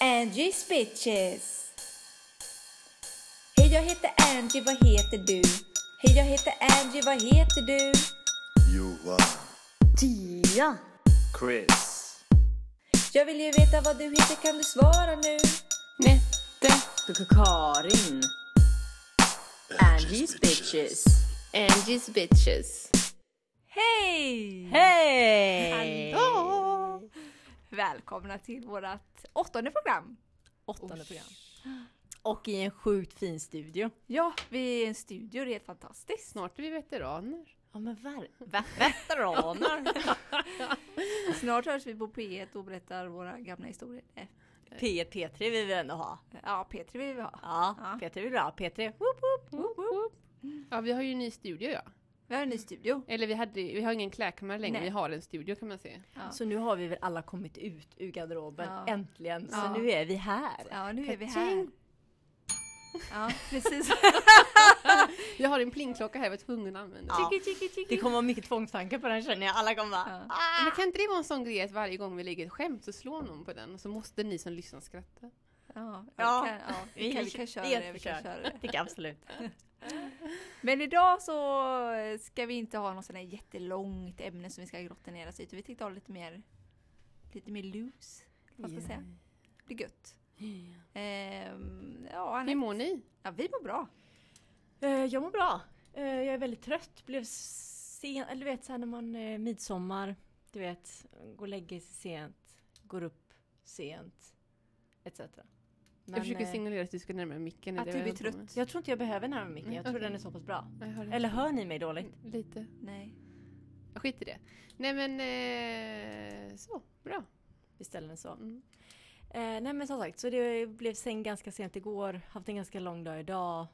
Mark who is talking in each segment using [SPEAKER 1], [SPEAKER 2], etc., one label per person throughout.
[SPEAKER 1] Angies bitches! Hej jag heter Angie, vad heter du? Hej jag heter Angie, vad heter du?
[SPEAKER 2] Johan.
[SPEAKER 3] Tia.
[SPEAKER 2] Chris.
[SPEAKER 1] Jag vill ju veta vad du heter, kan du svara nu?
[SPEAKER 3] Nette. Karin. Angies bitches. Angies bitches.
[SPEAKER 4] Hej!
[SPEAKER 3] Hej!
[SPEAKER 4] Hallå! Välkomna till vårt åttonde program.
[SPEAKER 3] Åttonde program. Och i en sjukt fin studio.
[SPEAKER 4] Ja, vi är i en studio, det är helt fantastiskt.
[SPEAKER 5] Snart är vi veteraner.
[SPEAKER 3] Ja men ver- ve- veteraner.
[SPEAKER 4] Snart hörs vi på P1 och berättar våra gamla historier. Eh,
[SPEAKER 3] P1, P3 vill vi ändå ha.
[SPEAKER 4] Ja, P3 vill vi ha.
[SPEAKER 3] Ja,
[SPEAKER 4] Ja.
[SPEAKER 3] P3 vill vi ha. P3. Woop, woop.
[SPEAKER 5] Ja, vi har ju en ny studio ja.
[SPEAKER 4] Vi har en ny studio.
[SPEAKER 5] Eller vi, hade, vi har ingen klädkammare längre,
[SPEAKER 4] Nej.
[SPEAKER 5] vi har en studio kan man säga.
[SPEAKER 4] Ja.
[SPEAKER 3] Så nu har vi väl alla kommit ut ur garderoben.
[SPEAKER 4] Ja.
[SPEAKER 3] Äntligen. Så
[SPEAKER 4] Ja.
[SPEAKER 3] nu är vi här.
[SPEAKER 4] Ja, nu är vi här.
[SPEAKER 5] Ka-ching!
[SPEAKER 4] Ja, precis.
[SPEAKER 5] Jag har en plingklocka här, jag var tvungen att använda den.
[SPEAKER 3] Ja.
[SPEAKER 4] Tiki, tiki, tiki.
[SPEAKER 3] Det kommer vara mycket tvångstankar på den känner jag. Alla kommer bara.
[SPEAKER 4] Ja.
[SPEAKER 3] "Ah!"
[SPEAKER 5] Men kan inte det vara en sån grej att varje gång vi lägger ett skämt så slår någon på den och så måste ni som lyssnar skratta?
[SPEAKER 4] Ja, vi
[SPEAKER 3] Ja.
[SPEAKER 4] kan, ja, vi kan, vi kan köra det. Vi kan köra det.
[SPEAKER 3] Tycker jag absolut.
[SPEAKER 4] Men idag så ska vi inte ha något sån här jättelångt ämne som vi ska grotta ner oss i. Utan vi tänkte ha lite mer, lite mer loose. Vad ska jag säga? Det är gött. Ehm, ja,
[SPEAKER 5] Hur
[SPEAKER 4] Anette.
[SPEAKER 5] mår ni?
[SPEAKER 4] ja, vi mår bra.
[SPEAKER 3] Eh, Jag mår bra. Eh, Jag är väldigt trött. Blev sen, eller du vet såhär när man eh, midsommar, du vet, går och lägger sig sent, går upp sent, etc. Men,
[SPEAKER 5] jag försöker
[SPEAKER 3] eh,
[SPEAKER 5] signalera att du ska närma micken. är
[SPEAKER 4] Att
[SPEAKER 5] det
[SPEAKER 4] du
[SPEAKER 5] vad
[SPEAKER 4] blir
[SPEAKER 5] jag håller på
[SPEAKER 4] trött.
[SPEAKER 3] Jag tror inte jag behöver närma micken, jag tror
[SPEAKER 4] Mm,
[SPEAKER 5] Okej.
[SPEAKER 3] den är så pass bra.
[SPEAKER 5] med? Jag hör det.
[SPEAKER 3] Eller hör ni mig dåligt?
[SPEAKER 5] Lite.
[SPEAKER 4] Nej.
[SPEAKER 5] Jag skiter i det. Nej men, eh, så. Bra.
[SPEAKER 3] Vi ställer den så.
[SPEAKER 5] Mm.
[SPEAKER 3] Eh, nej men som sagt, så det blev säng ganska sent igår, haft en ganska lång dag idag.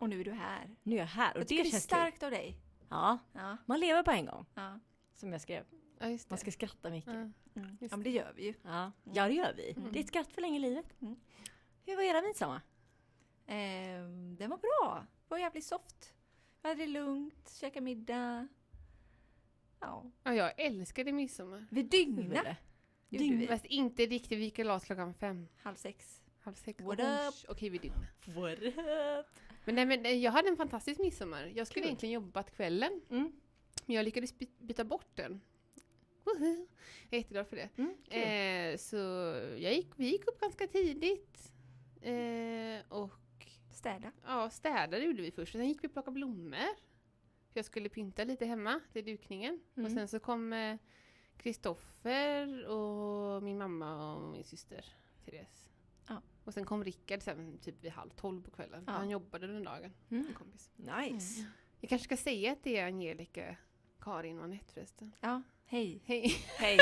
[SPEAKER 4] Och nu är du här.
[SPEAKER 3] Nu är jag här och
[SPEAKER 4] Jag
[SPEAKER 3] det
[SPEAKER 4] tycker det, är
[SPEAKER 3] känns kul.
[SPEAKER 4] starkt av dig.
[SPEAKER 3] Ja,
[SPEAKER 4] Ja,
[SPEAKER 3] man lever på en gång.
[SPEAKER 4] ja.
[SPEAKER 3] Som jag skrev.
[SPEAKER 5] Ja, just det.
[SPEAKER 3] Man ska skratta mycket.
[SPEAKER 5] Ja.
[SPEAKER 4] Mm.
[SPEAKER 5] Just
[SPEAKER 4] ja men det gör vi ju.
[SPEAKER 3] Ja, ja det gör vi. Det är ett skratt för länge i livet.
[SPEAKER 4] Mm.
[SPEAKER 3] Hur var era midsommar?
[SPEAKER 4] Ehm, den var bra. Det var jävligt soft. Vi hade det lugnt, käkade middag. Ja.
[SPEAKER 5] Ja, jag älskade midsommar.
[SPEAKER 4] Vi dygnade. Gjorde
[SPEAKER 3] Dygna.
[SPEAKER 4] vi.
[SPEAKER 5] Fast inte riktigt, vi gick och la oss klockan fem.
[SPEAKER 4] Halv sex.
[SPEAKER 5] Halv sex.
[SPEAKER 4] What
[SPEAKER 5] Oj,
[SPEAKER 4] up?
[SPEAKER 5] Okej, vi dygnade.
[SPEAKER 3] What up?
[SPEAKER 5] Men, nej, men eh, jag hade en fantastisk midsommar. Jag skulle
[SPEAKER 3] Kul.
[SPEAKER 5] egentligen jobbat kvällen,
[SPEAKER 3] Mm.
[SPEAKER 5] men jag lyckades by- byta bort den. Woho! Jag är jätteglad för det.
[SPEAKER 3] Mm, kul.
[SPEAKER 5] Eh, så jag gick, vi gick upp ganska tidigt. Eh, och
[SPEAKER 4] Städa.
[SPEAKER 5] ja, städade gjorde vi först. Sen gick vi och plockade blommor. För jag skulle pynta lite hemma till dukningen.
[SPEAKER 3] Mm.
[SPEAKER 5] Och sen så kom Kristoffer och min mamma och min syster Therese.
[SPEAKER 4] Ja.
[SPEAKER 5] Och sen kom Rickard sen typ vid halv tolv på kvällen.
[SPEAKER 4] Ja.
[SPEAKER 5] Han jobbade den dagen.
[SPEAKER 3] Mm.
[SPEAKER 5] En kompis.
[SPEAKER 3] Nice.
[SPEAKER 5] Jag kanske ska säga att det är Angelica, Karin och Anette förresten.
[SPEAKER 4] Ja, hej.
[SPEAKER 5] Hej!
[SPEAKER 3] Hej.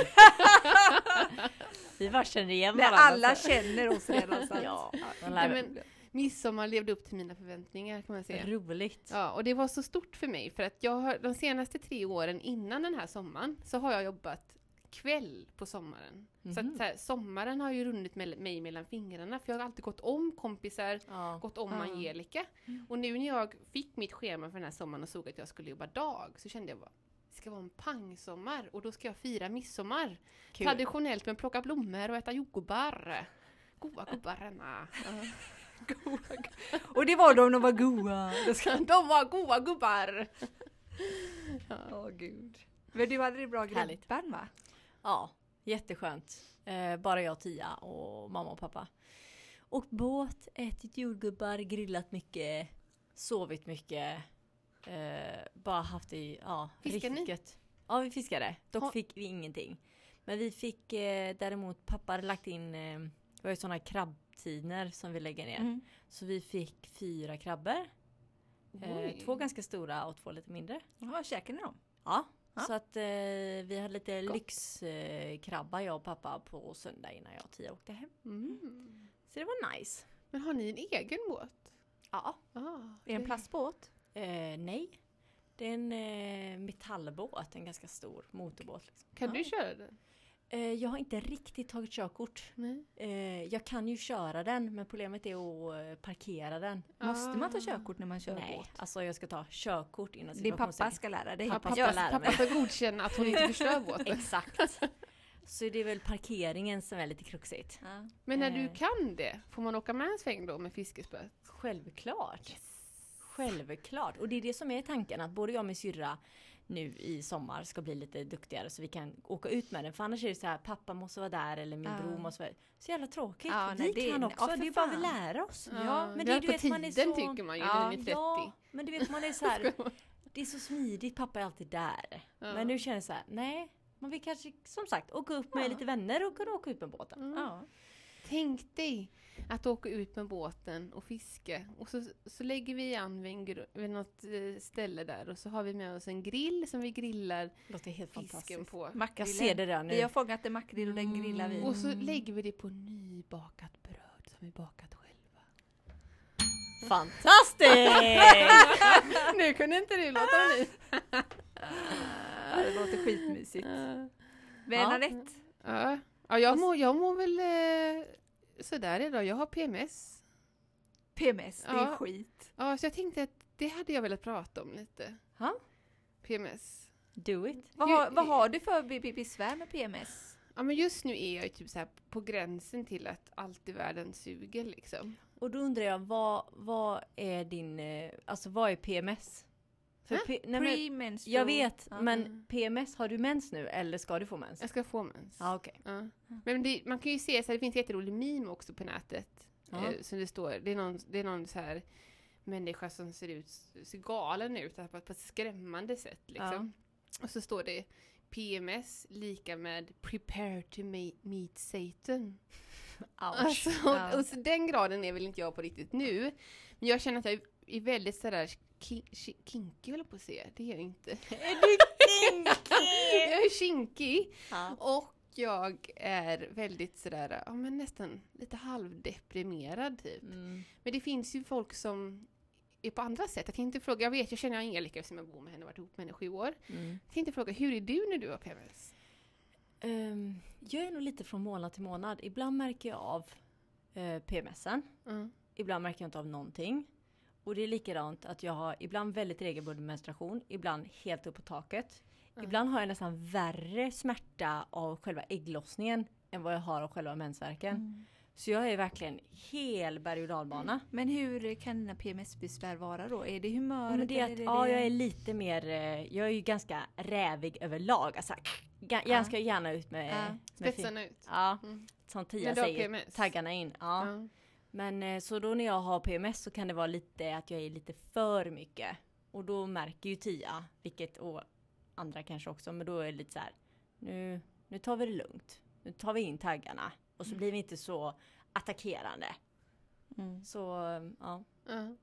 [SPEAKER 3] vi bara känner igen
[SPEAKER 4] När
[SPEAKER 3] varandra.
[SPEAKER 4] alla
[SPEAKER 3] så-
[SPEAKER 4] känner oss redan. så att-
[SPEAKER 3] Ja, man lär-
[SPEAKER 5] Nej, men, midsommar levde upp till mina förväntningar kan man säga.
[SPEAKER 3] Roligt.
[SPEAKER 5] Ja, och det var så stort för mig för att jag har, de senaste tre åren innan den här sommaren så har jag jobbat kväll på sommaren. Så
[SPEAKER 3] Mhm.
[SPEAKER 5] att så här, sommaren har ju runnit mell- mig mellan fingrarna för jag har alltid gått om kompisar,
[SPEAKER 3] Ja.
[SPEAKER 5] gått om
[SPEAKER 4] Ah.
[SPEAKER 5] Angelica.
[SPEAKER 3] Mm.
[SPEAKER 5] Och nu när jag fick mitt schema för den här sommaren och såg att jag skulle jobba dag så kände jag bara det ska vara en pangsommar och då ska jag fira midsommar.
[SPEAKER 3] Kul.
[SPEAKER 5] Traditionellt med att plocka blommor och äta jordgubbar. Goa gubbarna.
[SPEAKER 4] Och det var de, de var goa.
[SPEAKER 5] De var goa gubbar!
[SPEAKER 4] Åh gud. Men du hade det bra
[SPEAKER 3] Härligt.
[SPEAKER 4] grabban va?
[SPEAKER 3] Ja, jätteskönt. Eh, bara jag, Tia och mamma och pappa. Och båt, ätit jordgubbar, grillat mycket, sovit mycket. Eh, bara haft det, ja,
[SPEAKER 5] Fiskar
[SPEAKER 3] riktigt
[SPEAKER 5] ni?
[SPEAKER 3] gött. Ja, vi fiskade. Dock
[SPEAKER 5] Har-
[SPEAKER 3] fick vi ingenting. Men vi fick eh, däremot, pappa hade lagt in, eh, det var ju sådana krabbtiner som vi lägger ner.
[SPEAKER 4] Mm.
[SPEAKER 3] Så vi fick fyra krabbor. Eh,
[SPEAKER 5] Oj.
[SPEAKER 3] två ganska stora och två lite mindre.
[SPEAKER 4] Ja, käkade ni dem?
[SPEAKER 3] Ja,
[SPEAKER 4] Ja.
[SPEAKER 3] så att eh, vi hade lite lyxkrabba eh, krabba, jag och pappa på söndag innan jag och Tia åkte hem.
[SPEAKER 5] Mm.
[SPEAKER 3] Så det var nice.
[SPEAKER 5] Men har ni en egen båt?
[SPEAKER 3] Ja.
[SPEAKER 5] Ah,
[SPEAKER 4] Är det en plastbåt?
[SPEAKER 3] Eh, nej, det är en eh, metallbåt, en ganska stor motorbåt. Liksom.
[SPEAKER 5] Kan
[SPEAKER 4] Ja.
[SPEAKER 5] du köra den?
[SPEAKER 3] Eh, jag har inte riktigt tagit körkort.
[SPEAKER 5] Nej.
[SPEAKER 3] Eh, jag kan ju köra den, men problemet är att eh, parkera den.
[SPEAKER 4] Måste man ta
[SPEAKER 5] Ah.
[SPEAKER 4] körkort när man kör
[SPEAKER 3] nej,
[SPEAKER 4] båt?
[SPEAKER 3] alltså jag ska ta körkort innan
[SPEAKER 4] Din pappa ska lära dig.
[SPEAKER 3] Pappa
[SPEAKER 5] Pappa
[SPEAKER 3] ska
[SPEAKER 5] ska,
[SPEAKER 3] lära
[SPEAKER 5] pappa
[SPEAKER 3] mig.
[SPEAKER 5] ska godkänna att hon inte förstör båten.
[SPEAKER 3] Exakt. Så det är väl parkeringen som är lite kruxigt.
[SPEAKER 4] Ja.
[SPEAKER 5] Men när du
[SPEAKER 3] Eh.
[SPEAKER 5] kan det, får man åka med en sväng då med fiskespö?
[SPEAKER 3] Självklart. Självklart. Och det är det som är tanken att både jag och min syrra nu i sommar ska bli lite duktigare så vi kan åka ut med den. För annars är det så här, pappa måste vara där eller min
[SPEAKER 4] Ja.
[SPEAKER 3] bror måste vara Så jävla tråkigt.
[SPEAKER 4] Ja,
[SPEAKER 3] vi
[SPEAKER 4] nej, det är-
[SPEAKER 3] kan
[SPEAKER 4] ja,
[SPEAKER 3] också,
[SPEAKER 4] för
[SPEAKER 3] det är bara vi
[SPEAKER 4] fan.
[SPEAKER 3] lär oss. men
[SPEAKER 5] det
[SPEAKER 3] det
[SPEAKER 5] är på
[SPEAKER 3] är du vet,
[SPEAKER 5] tiden
[SPEAKER 3] man är så-
[SPEAKER 5] tycker man ju,
[SPEAKER 4] Ja,
[SPEAKER 5] när ni är 30.
[SPEAKER 3] Ja, men du vet man är så här, det är så smidigt, pappa är alltid där.
[SPEAKER 5] Ja.
[SPEAKER 3] Men nu känner jag så här, nej. Man vill kanske som sagt åka upp med
[SPEAKER 4] Ja.
[SPEAKER 3] lite vänner och kunna åka ut med båten.
[SPEAKER 5] Mm.
[SPEAKER 4] Ja.
[SPEAKER 5] Tänk dig att åka ut med båten och fiska och så, så lägger vi an vid, en gr- vid något eh, ställe där och så har vi med oss en grill som vi grillar
[SPEAKER 3] Låter helt
[SPEAKER 5] fisken
[SPEAKER 3] fantastiskt.
[SPEAKER 5] på.
[SPEAKER 3] Jag
[SPEAKER 4] Makrillen.
[SPEAKER 3] ser det där nu. Mm.
[SPEAKER 4] Vi har fångat en makrill och den grillar vi.
[SPEAKER 5] Och så lägger vi det på nybakat bröd som vi bakat själva.
[SPEAKER 3] Fantastiskt!
[SPEAKER 5] nu kunde inte du låta bli.
[SPEAKER 4] Ja, det låter skitmysigt. Men
[SPEAKER 3] Ja.
[SPEAKER 4] Anette,
[SPEAKER 5] Ja, ja jag, mår, jag mår väl eh, sådär idag. Jag har PMS.
[SPEAKER 4] PMS, det är
[SPEAKER 5] Ja.
[SPEAKER 4] skit.
[SPEAKER 5] Ja, så jag tänkte att det hade jag velat prata om lite.
[SPEAKER 3] Ja.
[SPEAKER 5] PMS.
[SPEAKER 3] Do it.
[SPEAKER 4] Vad
[SPEAKER 5] Ju-
[SPEAKER 4] har, vad har du för b- b- besvär med PMS?
[SPEAKER 5] Ja, men just nu är jag ju typ så här på gränsen till att allt i världen suger liksom.
[SPEAKER 3] Och då undrar jag, vad, vad är din, eh, alltså vad är PMS? För
[SPEAKER 5] Hä?
[SPEAKER 3] P- nej, men,
[SPEAKER 4] Premenstrual?
[SPEAKER 3] jag vet,
[SPEAKER 4] Ja.
[SPEAKER 3] men PMS, har du mens nu eller ska du få mens?
[SPEAKER 5] Jag ska få mens.
[SPEAKER 3] Ja okej.
[SPEAKER 5] Ja. Men det, man kan ju se, så här, det finns en jätterolig meme också på nätet.
[SPEAKER 3] Ja.
[SPEAKER 5] Eh, som det står, det är någon, det är någon så här människa som ser ut, ser galen ut så här, på, på ett skrämmande sätt liksom. Och så står det PMS lika med prepare to ma- meet Satan.
[SPEAKER 3] Ouch.
[SPEAKER 5] Alltså,
[SPEAKER 4] Ja.
[SPEAKER 5] och, och så den graden är väl inte jag på riktigt nu. Men jag känner att jag är väldigt sådär ki- ki- kinky höll jag på att säga. Det är jag inte. jag är kinkig.
[SPEAKER 3] Ja.
[SPEAKER 5] Och jag är väldigt sådär, ja men nästan lite halvdeprimerad typ.
[SPEAKER 3] Mm.
[SPEAKER 5] Men det finns ju folk som är på andra sätt. Jag kan inte fråga, jag vet, jag känner Angelica eftersom jag bor med henne och varit ihop med henne i sju år.
[SPEAKER 3] Mm.
[SPEAKER 5] Jag tänkte fråga, hur är du när du har PMS?
[SPEAKER 3] Ehm, jag är nog lite från månad till månad. Ibland märker jag av eh, PMSen.
[SPEAKER 5] Mm.
[SPEAKER 3] Ibland märker jag inte av någonting. Och det är likadant att jag har ibland väldigt regelbunden menstruation, ibland helt upp på taket. Ibland har jag nästan värre smärta av själva ägglossningen än vad jag har av själva mensvärken. Så jag är verkligen hel berg och dalbana.
[SPEAKER 4] Men hur kan dina PMS-besvär vara då? Är det humöret?
[SPEAKER 3] Ja, men det är
[SPEAKER 4] eller
[SPEAKER 3] att,
[SPEAKER 4] det-
[SPEAKER 3] ja, jag är lite mer, eh, jag är ju ganska rävig överlag. Alltså, ga- jag ska gärna ut med...
[SPEAKER 4] Ja.
[SPEAKER 3] med fin-
[SPEAKER 5] Spetsarna ut.
[SPEAKER 3] Ja,
[SPEAKER 5] Mm.
[SPEAKER 3] som
[SPEAKER 5] Men
[SPEAKER 3] Tia
[SPEAKER 5] du har
[SPEAKER 3] säger,
[SPEAKER 5] PMS.
[SPEAKER 3] taggarna in. Ja.
[SPEAKER 5] Ja.
[SPEAKER 3] Men eh, så då när jag har PMS så kan det vara lite att jag är lite för mycket. Och då märker ju Tia, vilket och andra kanske också, men då är det lite så här. Nu, nu tar vi det lugnt. Nu tar vi in taggarna. Och så blir vi inte så attackerande.
[SPEAKER 4] Mm.
[SPEAKER 3] Så eh, ja.
[SPEAKER 5] Ja.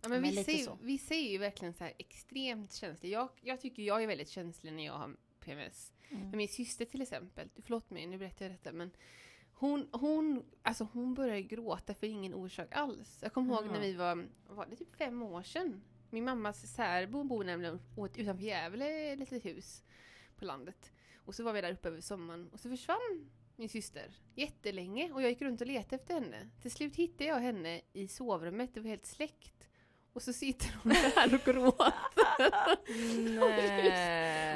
[SPEAKER 5] Ja, men
[SPEAKER 3] Men
[SPEAKER 5] vi,
[SPEAKER 3] lite
[SPEAKER 5] ser, ju-
[SPEAKER 3] så.
[SPEAKER 5] vi ser ju verkligen så här extremt känsliga. Jag, jag tycker jag är väldigt känslig när jag har PMS.
[SPEAKER 3] Mm.
[SPEAKER 5] Men min syster till exempel, förlåt mig nu berättar jag detta men hon, hon, alltså hon började gråta för ingen orsak alls. Jag kommer ihåg
[SPEAKER 3] Ja.
[SPEAKER 5] när vi var, vad var det typ fem år sedan? Min mammas särbo bor nämligen åt- utanför Gävle, ett litet hus på landet. Och så var vi där uppe över sommaren och så försvann min syster jättelänge och jag gick runt och letade efter henne. Till slut hittade jag henne i sovrummet, det var helt släckt. Och så sitter hon där och gråter.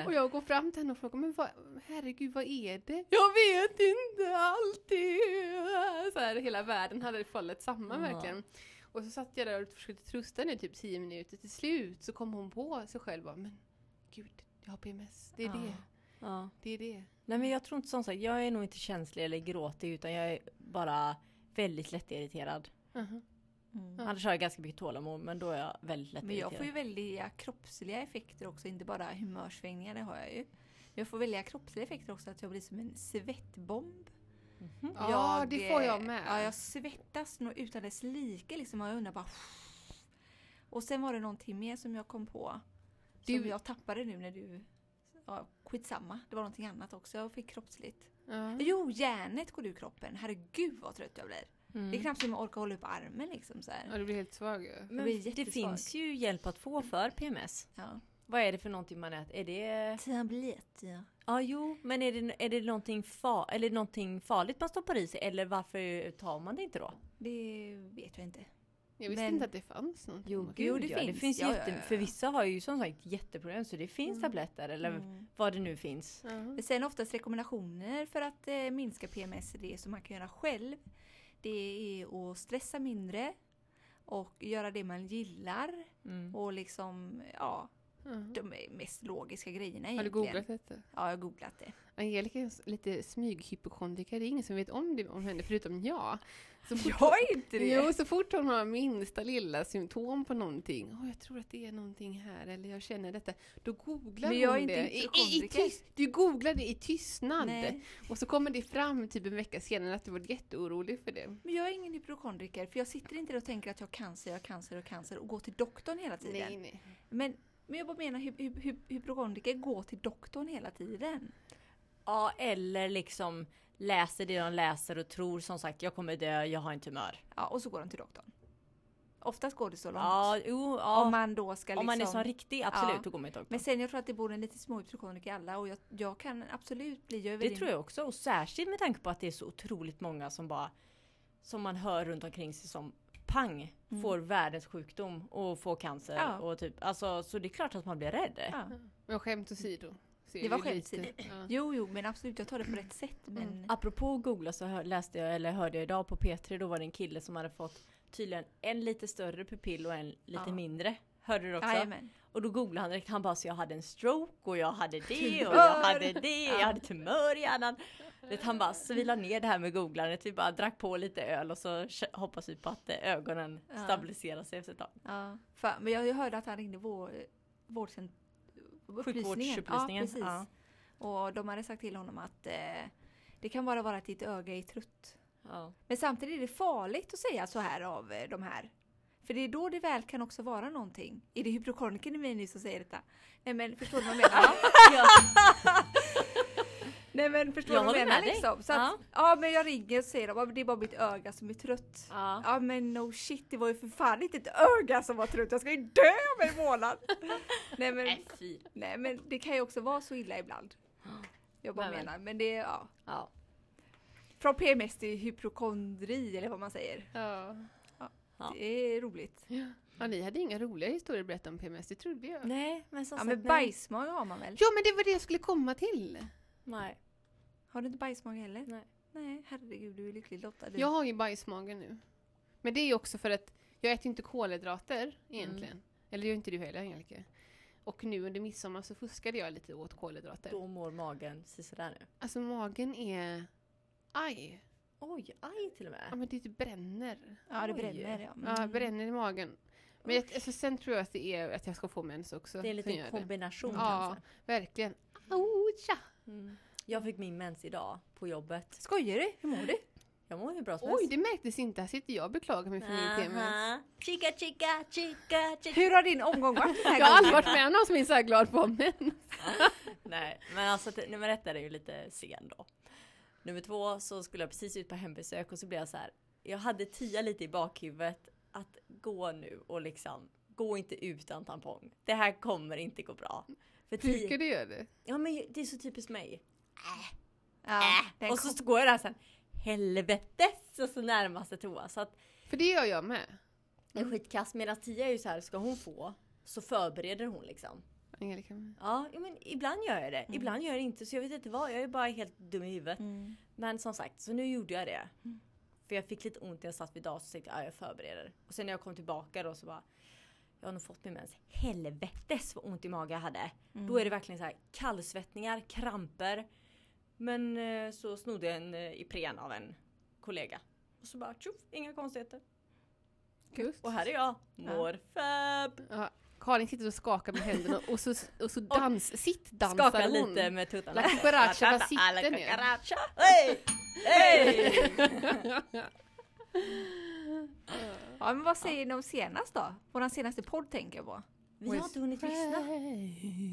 [SPEAKER 5] Och jag går fram till henne och frågar, men vad, herregud vad är det? Jag vet inte, allt är... Så här, hela världen hade fallit samman
[SPEAKER 3] Ja.
[SPEAKER 5] verkligen. Och så satt jag där och försökte trösta henne i typ 10 minuter. Till slut så kom hon på sig själv och bara, men gud, jag har PMS. Det är
[SPEAKER 3] Ja.
[SPEAKER 5] det,
[SPEAKER 3] ja.
[SPEAKER 5] det är det.
[SPEAKER 3] Nej men jag tror inte som sagt, jag är nog inte känslig eller gråtig utan jag är bara väldigt lättirriterad.
[SPEAKER 5] Mhm.
[SPEAKER 4] Mm.
[SPEAKER 3] Annars har jag ganska mycket tålamod men då är jag väldigt
[SPEAKER 4] Men
[SPEAKER 3] lättirriterad.
[SPEAKER 4] jag får ju välja kroppsliga effekter också, inte bara humörsvängningar, det har jag ju. Jag får välja kroppsliga effekter också, att jag blir som en svettbomb.
[SPEAKER 5] Ja,
[SPEAKER 4] Jag,
[SPEAKER 5] det får jag
[SPEAKER 4] eh,
[SPEAKER 5] med.
[SPEAKER 4] Ja, jag svettas nog utan dess like liksom. Och jag undrar bara... Och sen var det någonting mer som jag kom på. Som
[SPEAKER 5] Du-
[SPEAKER 4] jag tappade nu när du... Ja, skitsamma. Det var någonting annat också jag fick kroppsligt.
[SPEAKER 5] Ja.
[SPEAKER 4] Jo, järnet går ur kroppen. Herregud vad trött jag blir.
[SPEAKER 3] Mm.
[SPEAKER 5] Mm.
[SPEAKER 4] Det är knappt som jag orkar hålla upp armen liksom så här.
[SPEAKER 5] Ja, du blir helt svag. ju.
[SPEAKER 3] Men
[SPEAKER 4] blir
[SPEAKER 3] det
[SPEAKER 4] jättesvag.
[SPEAKER 3] finns ju hjälp att få för PMS.
[SPEAKER 4] Ja.
[SPEAKER 3] Vad är det för någonting man äter? Är det...
[SPEAKER 4] Tablet, ja.
[SPEAKER 3] Ja jo, men är det, är det någonting, fa... eller någonting farligt man stoppar i sig eller varför tar man det inte då?
[SPEAKER 4] Det vet jag inte.
[SPEAKER 5] Jag visste
[SPEAKER 4] Men-
[SPEAKER 5] inte att det fanns någonting.
[SPEAKER 3] Jo,
[SPEAKER 5] Man kan-
[SPEAKER 3] gud,
[SPEAKER 4] det
[SPEAKER 3] det ja, finns. Det
[SPEAKER 4] finns.
[SPEAKER 3] finns
[SPEAKER 4] Ja, ja,
[SPEAKER 3] jätte...
[SPEAKER 4] ja.
[SPEAKER 3] För vissa har ju som sagt jätteproblem så det finns
[SPEAKER 4] Mm.
[SPEAKER 3] tabletter eller vad det nu finns.
[SPEAKER 5] Ja.
[SPEAKER 4] Sen oftast rekommendationer för att eh, minska PMS är det som man kan göra själv. Det är att stressa mindre och göra det man gillar
[SPEAKER 3] Mm.
[SPEAKER 4] och liksom, ja,
[SPEAKER 5] Ja.
[SPEAKER 4] de mest logiska grejerna
[SPEAKER 5] Har du
[SPEAKER 4] egentligen.
[SPEAKER 5] googlat detta?
[SPEAKER 4] Ja, jag har googlat det.
[SPEAKER 5] Angelica är en s- lite smyghypokondriker. Det är ingen som vet om det om henne förutom jag. Så fort
[SPEAKER 4] Jag är inte det!
[SPEAKER 5] Jo, så fort hon har minsta lilla symptom på någonting. Åh, jag tror att det är någonting här eller jag känner detta. Då googlar
[SPEAKER 4] Men jag är
[SPEAKER 5] hon
[SPEAKER 4] inte
[SPEAKER 5] det. I, i, i
[SPEAKER 4] hypokondriker.
[SPEAKER 5] tyst, du googlar det i tystnad.
[SPEAKER 4] Nej,
[SPEAKER 5] Och så kommer det fram typ en vecka senare att du var jätteorolig för det.
[SPEAKER 4] men jag är ingen hypokondriker för jag sitter inte där och tänker att jag har cancer, jag har cancer och cancer och går till doktorn hela tiden.
[SPEAKER 5] Nej, nej.
[SPEAKER 4] Men, men jag bara menar hy- hy- hy- hypokondriker går till doktorn hela tiden.
[SPEAKER 3] Ja, eller liksom läser det de läser och tror som sagt jag kommer dö, jag har en tumör.
[SPEAKER 4] Ja, och så går de till doktorn. Oftast går det så långt.
[SPEAKER 3] Ja, jo, ja.
[SPEAKER 4] Om man då ska liksom...
[SPEAKER 3] Om man är som riktig, absolut,
[SPEAKER 4] Ja.
[SPEAKER 3] då går man till doktorn.
[SPEAKER 4] Men sen jag tror att det bor en liten små hypokondriker i alla och jag, jag kan absolut bli över
[SPEAKER 3] Det tror jag också. Och särskilt med tanke på att det är så otroligt många som bara som man hör runt omkring sig som pang
[SPEAKER 4] Mm.
[SPEAKER 3] får världens sjukdom och får cancer
[SPEAKER 4] Ja.
[SPEAKER 3] och typ alltså så det är klart att man blir rädd.
[SPEAKER 4] Ja.
[SPEAKER 5] Men skämt åsido. så är
[SPEAKER 4] Det var
[SPEAKER 5] ju
[SPEAKER 4] skämt
[SPEAKER 5] lite- Ja.
[SPEAKER 4] Jo, jo, men absolut, jag tar det på rätt sätt.
[SPEAKER 3] Mm.
[SPEAKER 4] Men...
[SPEAKER 3] Apropå att googla så hör, läste jag eller hörde jag idag på P3 då var det en kille som hade fått tydligen en lite större pupill och en lite
[SPEAKER 4] Ja.
[SPEAKER 3] mindre. Hörde du också?
[SPEAKER 4] Jajamän.
[SPEAKER 3] Och då googlade han direkt, han bara så jag hade en stroke och jag hade det och jag
[SPEAKER 4] Tumör!
[SPEAKER 3] hade det, jag hade tumör i hjärnan. Vet, han bara svilade ner det här med googlandet, vi bara drack på lite öl och så k- hoppas vi på att eh, ögonen
[SPEAKER 4] Ja.
[SPEAKER 3] stabiliserar sig efter ett tag.
[SPEAKER 4] Ja. Fan, men jag jag hörde att han ringde vår, vårdcent...
[SPEAKER 3] Sjukvårdsupplysningen.
[SPEAKER 4] Ja, precis.
[SPEAKER 3] Ja.
[SPEAKER 4] Och de hade sagt till honom att eh, det kan bara vara att ditt öga är trött.
[SPEAKER 3] Ja.
[SPEAKER 4] Men samtidigt är det farligt att säga så här av eh, de här. För det är då det väl kan också vara någonting. Är det hypokondriken i mig nu som säger detta? Nej men förstår du vad jag menar? Nej men förstår
[SPEAKER 3] Jag
[SPEAKER 4] du vad
[SPEAKER 3] håller
[SPEAKER 4] jag menar
[SPEAKER 3] med dig.
[SPEAKER 4] liksom? Så att, ja. men jag ringer och säger att det är bara mitt öga som är trött.
[SPEAKER 3] Ja.
[SPEAKER 4] Ja men no shit, det var ju för fan inte ett öga som var trött, jag ska ju dö om en månad! nej, men,
[SPEAKER 3] Nej, fy.
[SPEAKER 4] nej men det kan ju också vara så illa ibland. Jag bara
[SPEAKER 3] Nej, men-
[SPEAKER 4] menar, men det är ja.
[SPEAKER 3] Ja.
[SPEAKER 4] Från PMS till hypokondri eller vad man säger.
[SPEAKER 5] Ja.
[SPEAKER 3] Ja.
[SPEAKER 4] Det är roligt.
[SPEAKER 5] ja, ni hade inga roliga historier att berätta om PMS, det trodde jag.
[SPEAKER 3] Nej, men som
[SPEAKER 4] Ja
[SPEAKER 3] sagt
[SPEAKER 4] men
[SPEAKER 3] nej.
[SPEAKER 4] bajsmage har man väl?
[SPEAKER 5] Ja, men det var det jag skulle komma till!
[SPEAKER 3] Nej.
[SPEAKER 4] Har du inte bajsmage heller?
[SPEAKER 3] Nej.
[SPEAKER 4] Nej, herregud du är lyckligt lottad. Du.
[SPEAKER 5] Jag har ju bajsmage nu. Men det är ju också för att jag äter ju inte kolhydrater egentligen. Eller det gör inte du heller Angelica. Och nu under midsommar så fuskade jag lite åt kolhydrater.
[SPEAKER 3] Då mår magen sådär nu.
[SPEAKER 5] Alltså magen är... Aj!
[SPEAKER 3] Oj, aj till och
[SPEAKER 5] Ja
[SPEAKER 3] med.
[SPEAKER 5] men det typ bränner.
[SPEAKER 4] Ja det
[SPEAKER 3] Oj.
[SPEAKER 4] bränner ja. men-
[SPEAKER 5] Ja, bränner i magen. Men jag, alltså, sen tror jag att det är att jag ska få mens också.
[SPEAKER 3] Det är en
[SPEAKER 5] som
[SPEAKER 3] liten
[SPEAKER 5] gör
[SPEAKER 3] kombination
[SPEAKER 5] Ja,
[SPEAKER 3] kanske.
[SPEAKER 5] verkligen. alltså. Au, tja!
[SPEAKER 3] Mm. Jag fick min mens idag på jobbet.
[SPEAKER 4] Skojar du? Hur mår du?
[SPEAKER 3] Jag mår hur bra som
[SPEAKER 5] Oj,
[SPEAKER 3] helst.
[SPEAKER 5] det märktes inte. Här sitter jag och beklagar mig för min PMS.
[SPEAKER 3] Aha. Chica, chica, chica, chica.
[SPEAKER 4] Hur har din omgång varit den här
[SPEAKER 5] Jag har aldrig
[SPEAKER 4] gången?
[SPEAKER 5] varit med om någon som är så här glad på men.
[SPEAKER 3] Nej, men alltså t- nummer ett är det ju lite sen då. Nummer två så skulle jag precis ut på hembesök och så blev jag så här. Jag hade tia lite i bakhuvudet att gå nu och liksom gå inte utan tampong. Det här kommer inte gå bra. För
[SPEAKER 5] Tycker
[SPEAKER 3] tia,
[SPEAKER 5] du gör det?
[SPEAKER 3] ja men det är så typiskt mig.
[SPEAKER 4] Ja, den
[SPEAKER 3] och så går jag där sen. Helvetes! Och så närmaste toa. Så att
[SPEAKER 5] För det gör jag med.
[SPEAKER 3] det är skitkass. Medan tia är ju så här, ska hon få så förbereder hon liksom.
[SPEAKER 5] Angelica med.
[SPEAKER 3] Ja, jo, men ibland gör jag det.
[SPEAKER 5] Mm.
[SPEAKER 3] Ibland gör jag det inte. Så jag vet inte vad. Jag är bara helt dum i huvudet.
[SPEAKER 5] Mm.
[SPEAKER 3] Men som sagt, så nu gjorde jag det. För jag fick lite ont när jag satt vid datorn så tänkte jag, ja, jag förbereder. Och sen när jag kom tillbaka då så bara, jag har nog fått min mens. Helvetes vad ont i magen jag hade.
[SPEAKER 5] Mm.
[SPEAKER 3] Då är det verkligen så här kallsvettningar, kramper. Men eh, så snodde jag en eh, Ipren av en kollega. Och så bara tjoff, inga konstigheter.
[SPEAKER 5] Just.
[SPEAKER 3] Och här är jag, mår fab.
[SPEAKER 5] Ja, Karin sitter och skakar med händerna och så, och så dans, sitt dansar
[SPEAKER 3] Skakar
[SPEAKER 5] hon.
[SPEAKER 3] lite med tuttarna.
[SPEAKER 5] La cucaracha, var sitter
[SPEAKER 3] Alla
[SPEAKER 5] ni?
[SPEAKER 3] cucaracha. Hej! Hej!
[SPEAKER 4] Ja men vad säger ni om senast då? Våran senaste podd tänker jag på.
[SPEAKER 3] Vi har inte hunnit lyssna.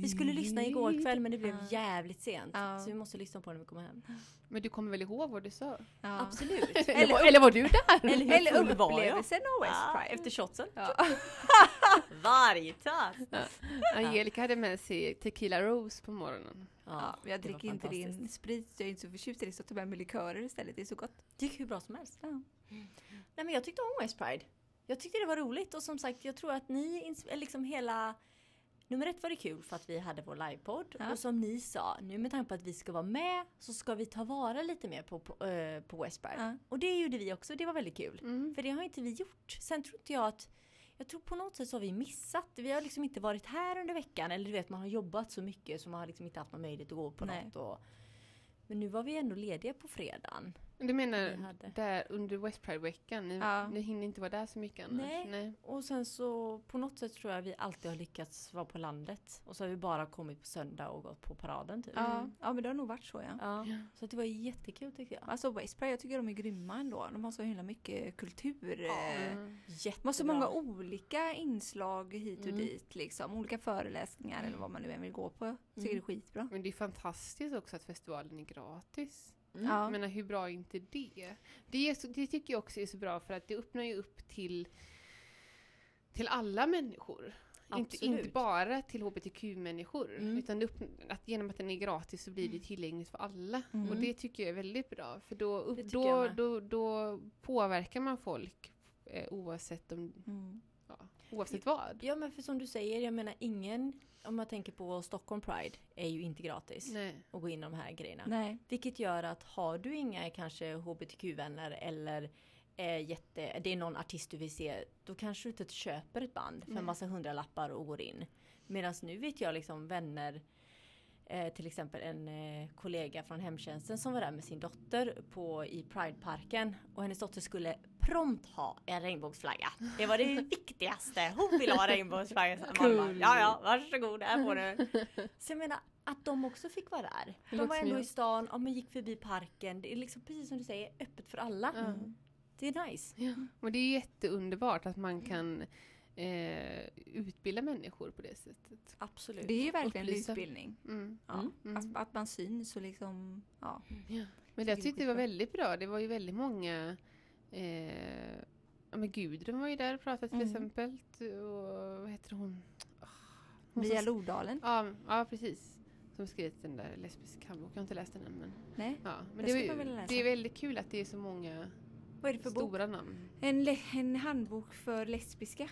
[SPEAKER 3] Vi skulle lyssna igår kväll men det blev
[SPEAKER 4] Ja.
[SPEAKER 3] jävligt sent.
[SPEAKER 4] Ja.
[SPEAKER 3] Så vi måste lyssna på det när vi kommer hem.
[SPEAKER 5] Men du kommer väl ihåg vad du sa?
[SPEAKER 4] Ja.
[SPEAKER 3] Absolut.
[SPEAKER 5] Eller, var- eller var du där?
[SPEAKER 3] Eller hur
[SPEAKER 4] Eller
[SPEAKER 3] full var jag?
[SPEAKER 4] upplevelsen av West
[SPEAKER 3] Ja,
[SPEAKER 4] Pride.
[SPEAKER 3] efter shotsen.
[SPEAKER 4] Ja.
[SPEAKER 3] Varje tass.
[SPEAKER 5] Angelica hade med sig Tequila Rose på morgonen.
[SPEAKER 4] Ja, men jag
[SPEAKER 3] det var
[SPEAKER 4] dricker inte
[SPEAKER 3] fantastiskt.
[SPEAKER 4] din sprit, jag är inte så förtjust i det så jag tar med mig likörer istället, det är så gott.
[SPEAKER 3] Det gick hur bra som helst.
[SPEAKER 4] Ja.
[SPEAKER 3] Nej men jag tyckte om West Pride. Jag tyckte det var roligt och som sagt jag tror att ni, ins- eller liksom hela Nummer ett var det kul för att vi hade vår livepodd
[SPEAKER 4] Ja.
[SPEAKER 3] och som ni sa, nu med tanke på att vi ska vara med så ska vi ta vara lite mer på, på, eh, på Westberg.
[SPEAKER 4] Ja.
[SPEAKER 3] Och det gjorde vi också, det var väldigt kul.
[SPEAKER 5] Mm.
[SPEAKER 3] För det har inte vi gjort. Sen tror inte jag att jag tror på något sätt så har vi missat. Vi har liksom inte varit här under veckan. Eller du vet man har jobbat så mycket så man har liksom inte haft någon möjlighet att gå på
[SPEAKER 4] Nej.
[SPEAKER 3] något. Och, men nu var vi ändå lediga på fredagen.
[SPEAKER 5] Du
[SPEAKER 3] Vi
[SPEAKER 4] Mm.
[SPEAKER 5] menar
[SPEAKER 3] hade.
[SPEAKER 5] där under West Pride-veckan? Ni,
[SPEAKER 4] Ja.
[SPEAKER 5] ni hinner inte vara där så mycket annars?
[SPEAKER 3] Nej.
[SPEAKER 5] Nej.
[SPEAKER 3] Och sen så på något sätt tror jag vi alltid har lyckats vara på landet. Och så har vi bara kommit på söndag och gått på paraden typ.
[SPEAKER 4] Ja, ja, men det har nog varit så ja.
[SPEAKER 3] Ja, Så att det var jättekul tycker jag.
[SPEAKER 4] Alltså Westberg, jag tycker de är grymma ändå. De har så himla mycket kultur. eh,
[SPEAKER 5] Mm.
[SPEAKER 4] De har
[SPEAKER 3] Jättebra.
[SPEAKER 4] så många olika inslag hit och
[SPEAKER 3] Mm.
[SPEAKER 4] dit liksom. Olika föreläsningar eller vad man nu än vill gå på. Tycker
[SPEAKER 3] Mm.
[SPEAKER 4] det är skitbra.
[SPEAKER 5] Men det är fantastiskt också att festivalen är gratis.
[SPEAKER 3] Mm.
[SPEAKER 4] Ja.
[SPEAKER 5] Jag menar, hur bra är inte det? Det, är så, det tycker jag också är så bra för att det öppnar ju upp till, till alla människor. Inte,
[SPEAKER 3] Absolut.
[SPEAKER 5] inte bara till hbtq-människor.
[SPEAKER 3] Mm.
[SPEAKER 5] Utan det öppn- att genom att den är gratis så blir det tillgängligt för alla.
[SPEAKER 4] Mm.
[SPEAKER 5] Och det tycker jag är väldigt bra. För då, upp,
[SPEAKER 3] Det tycker jag
[SPEAKER 5] då,
[SPEAKER 3] med.
[SPEAKER 5] då, då påverkar man folk eh, oavsett, om,
[SPEAKER 4] Mm.
[SPEAKER 5] ja,
[SPEAKER 3] Typ.
[SPEAKER 5] oavsett vad.
[SPEAKER 3] Ja men för som du säger, jag menar ingen, om man tänker på Stockholm Pride, är ju inte gratis
[SPEAKER 5] Nej.
[SPEAKER 3] att gå in i de här grejerna.
[SPEAKER 4] Nej.
[SPEAKER 3] Vilket gör att har du inga kanske hbtq-vänner eller eh, jätte, det är någon artist du vill se, då kanske du inte köper ett band för en massa hundralappar och går in. Medan nu vet jag liksom vänner, eh, till exempel en eh, kollega från hemtjänsten som var där med sin dotter på, i Prideparken och hennes dotter skulle prompt ha en regnbågsflagga. Det var det viktigaste. Hon ville ha regnbågsflagga. Så man bara, Ja, ja, varsågod, här får du. Så jag menar att de också fick vara där. De
[SPEAKER 5] låter
[SPEAKER 3] var
[SPEAKER 5] som
[SPEAKER 3] ändå
[SPEAKER 5] jag.
[SPEAKER 3] i stan, ja, men gick förbi parken. Det är liksom precis som du säger, öppet för alla.
[SPEAKER 5] Mm.
[SPEAKER 3] Det är nice.
[SPEAKER 5] Och det är jätteunderbart att
[SPEAKER 3] Mm.
[SPEAKER 5] man kan eh, utbilda människor på det sättet.
[SPEAKER 3] Absolut.
[SPEAKER 4] Det är ju verkligen
[SPEAKER 5] Upplysa.
[SPEAKER 4] utbildning.
[SPEAKER 5] Mm.
[SPEAKER 4] Ja.
[SPEAKER 3] Mm.
[SPEAKER 5] Mm.
[SPEAKER 4] Att, att man syns och liksom, ja.
[SPEAKER 5] Men
[SPEAKER 4] det är
[SPEAKER 5] jag tyckte det var
[SPEAKER 4] skitbra.
[SPEAKER 5] väldigt bra. Det var ju väldigt många... Eh, ja men Gudrun var ju där och pratade till
[SPEAKER 4] Mm.
[SPEAKER 5] exempel. Och vad heter hon? Ah, hon
[SPEAKER 4] Via
[SPEAKER 5] som-
[SPEAKER 4] Lodalen.
[SPEAKER 5] ja, ja, precis. Som skrivit den där lesbiska handboken. Jag har inte läst den än. Men,
[SPEAKER 4] Nej.
[SPEAKER 5] ja. men
[SPEAKER 4] Den
[SPEAKER 5] det, var
[SPEAKER 4] skulle man vilja
[SPEAKER 5] ju,
[SPEAKER 4] läsa.
[SPEAKER 5] det är väldigt kul att det är så många
[SPEAKER 4] Vad är det för bok?
[SPEAKER 5] stora namn.
[SPEAKER 4] En, le- en handbok för lesbiska.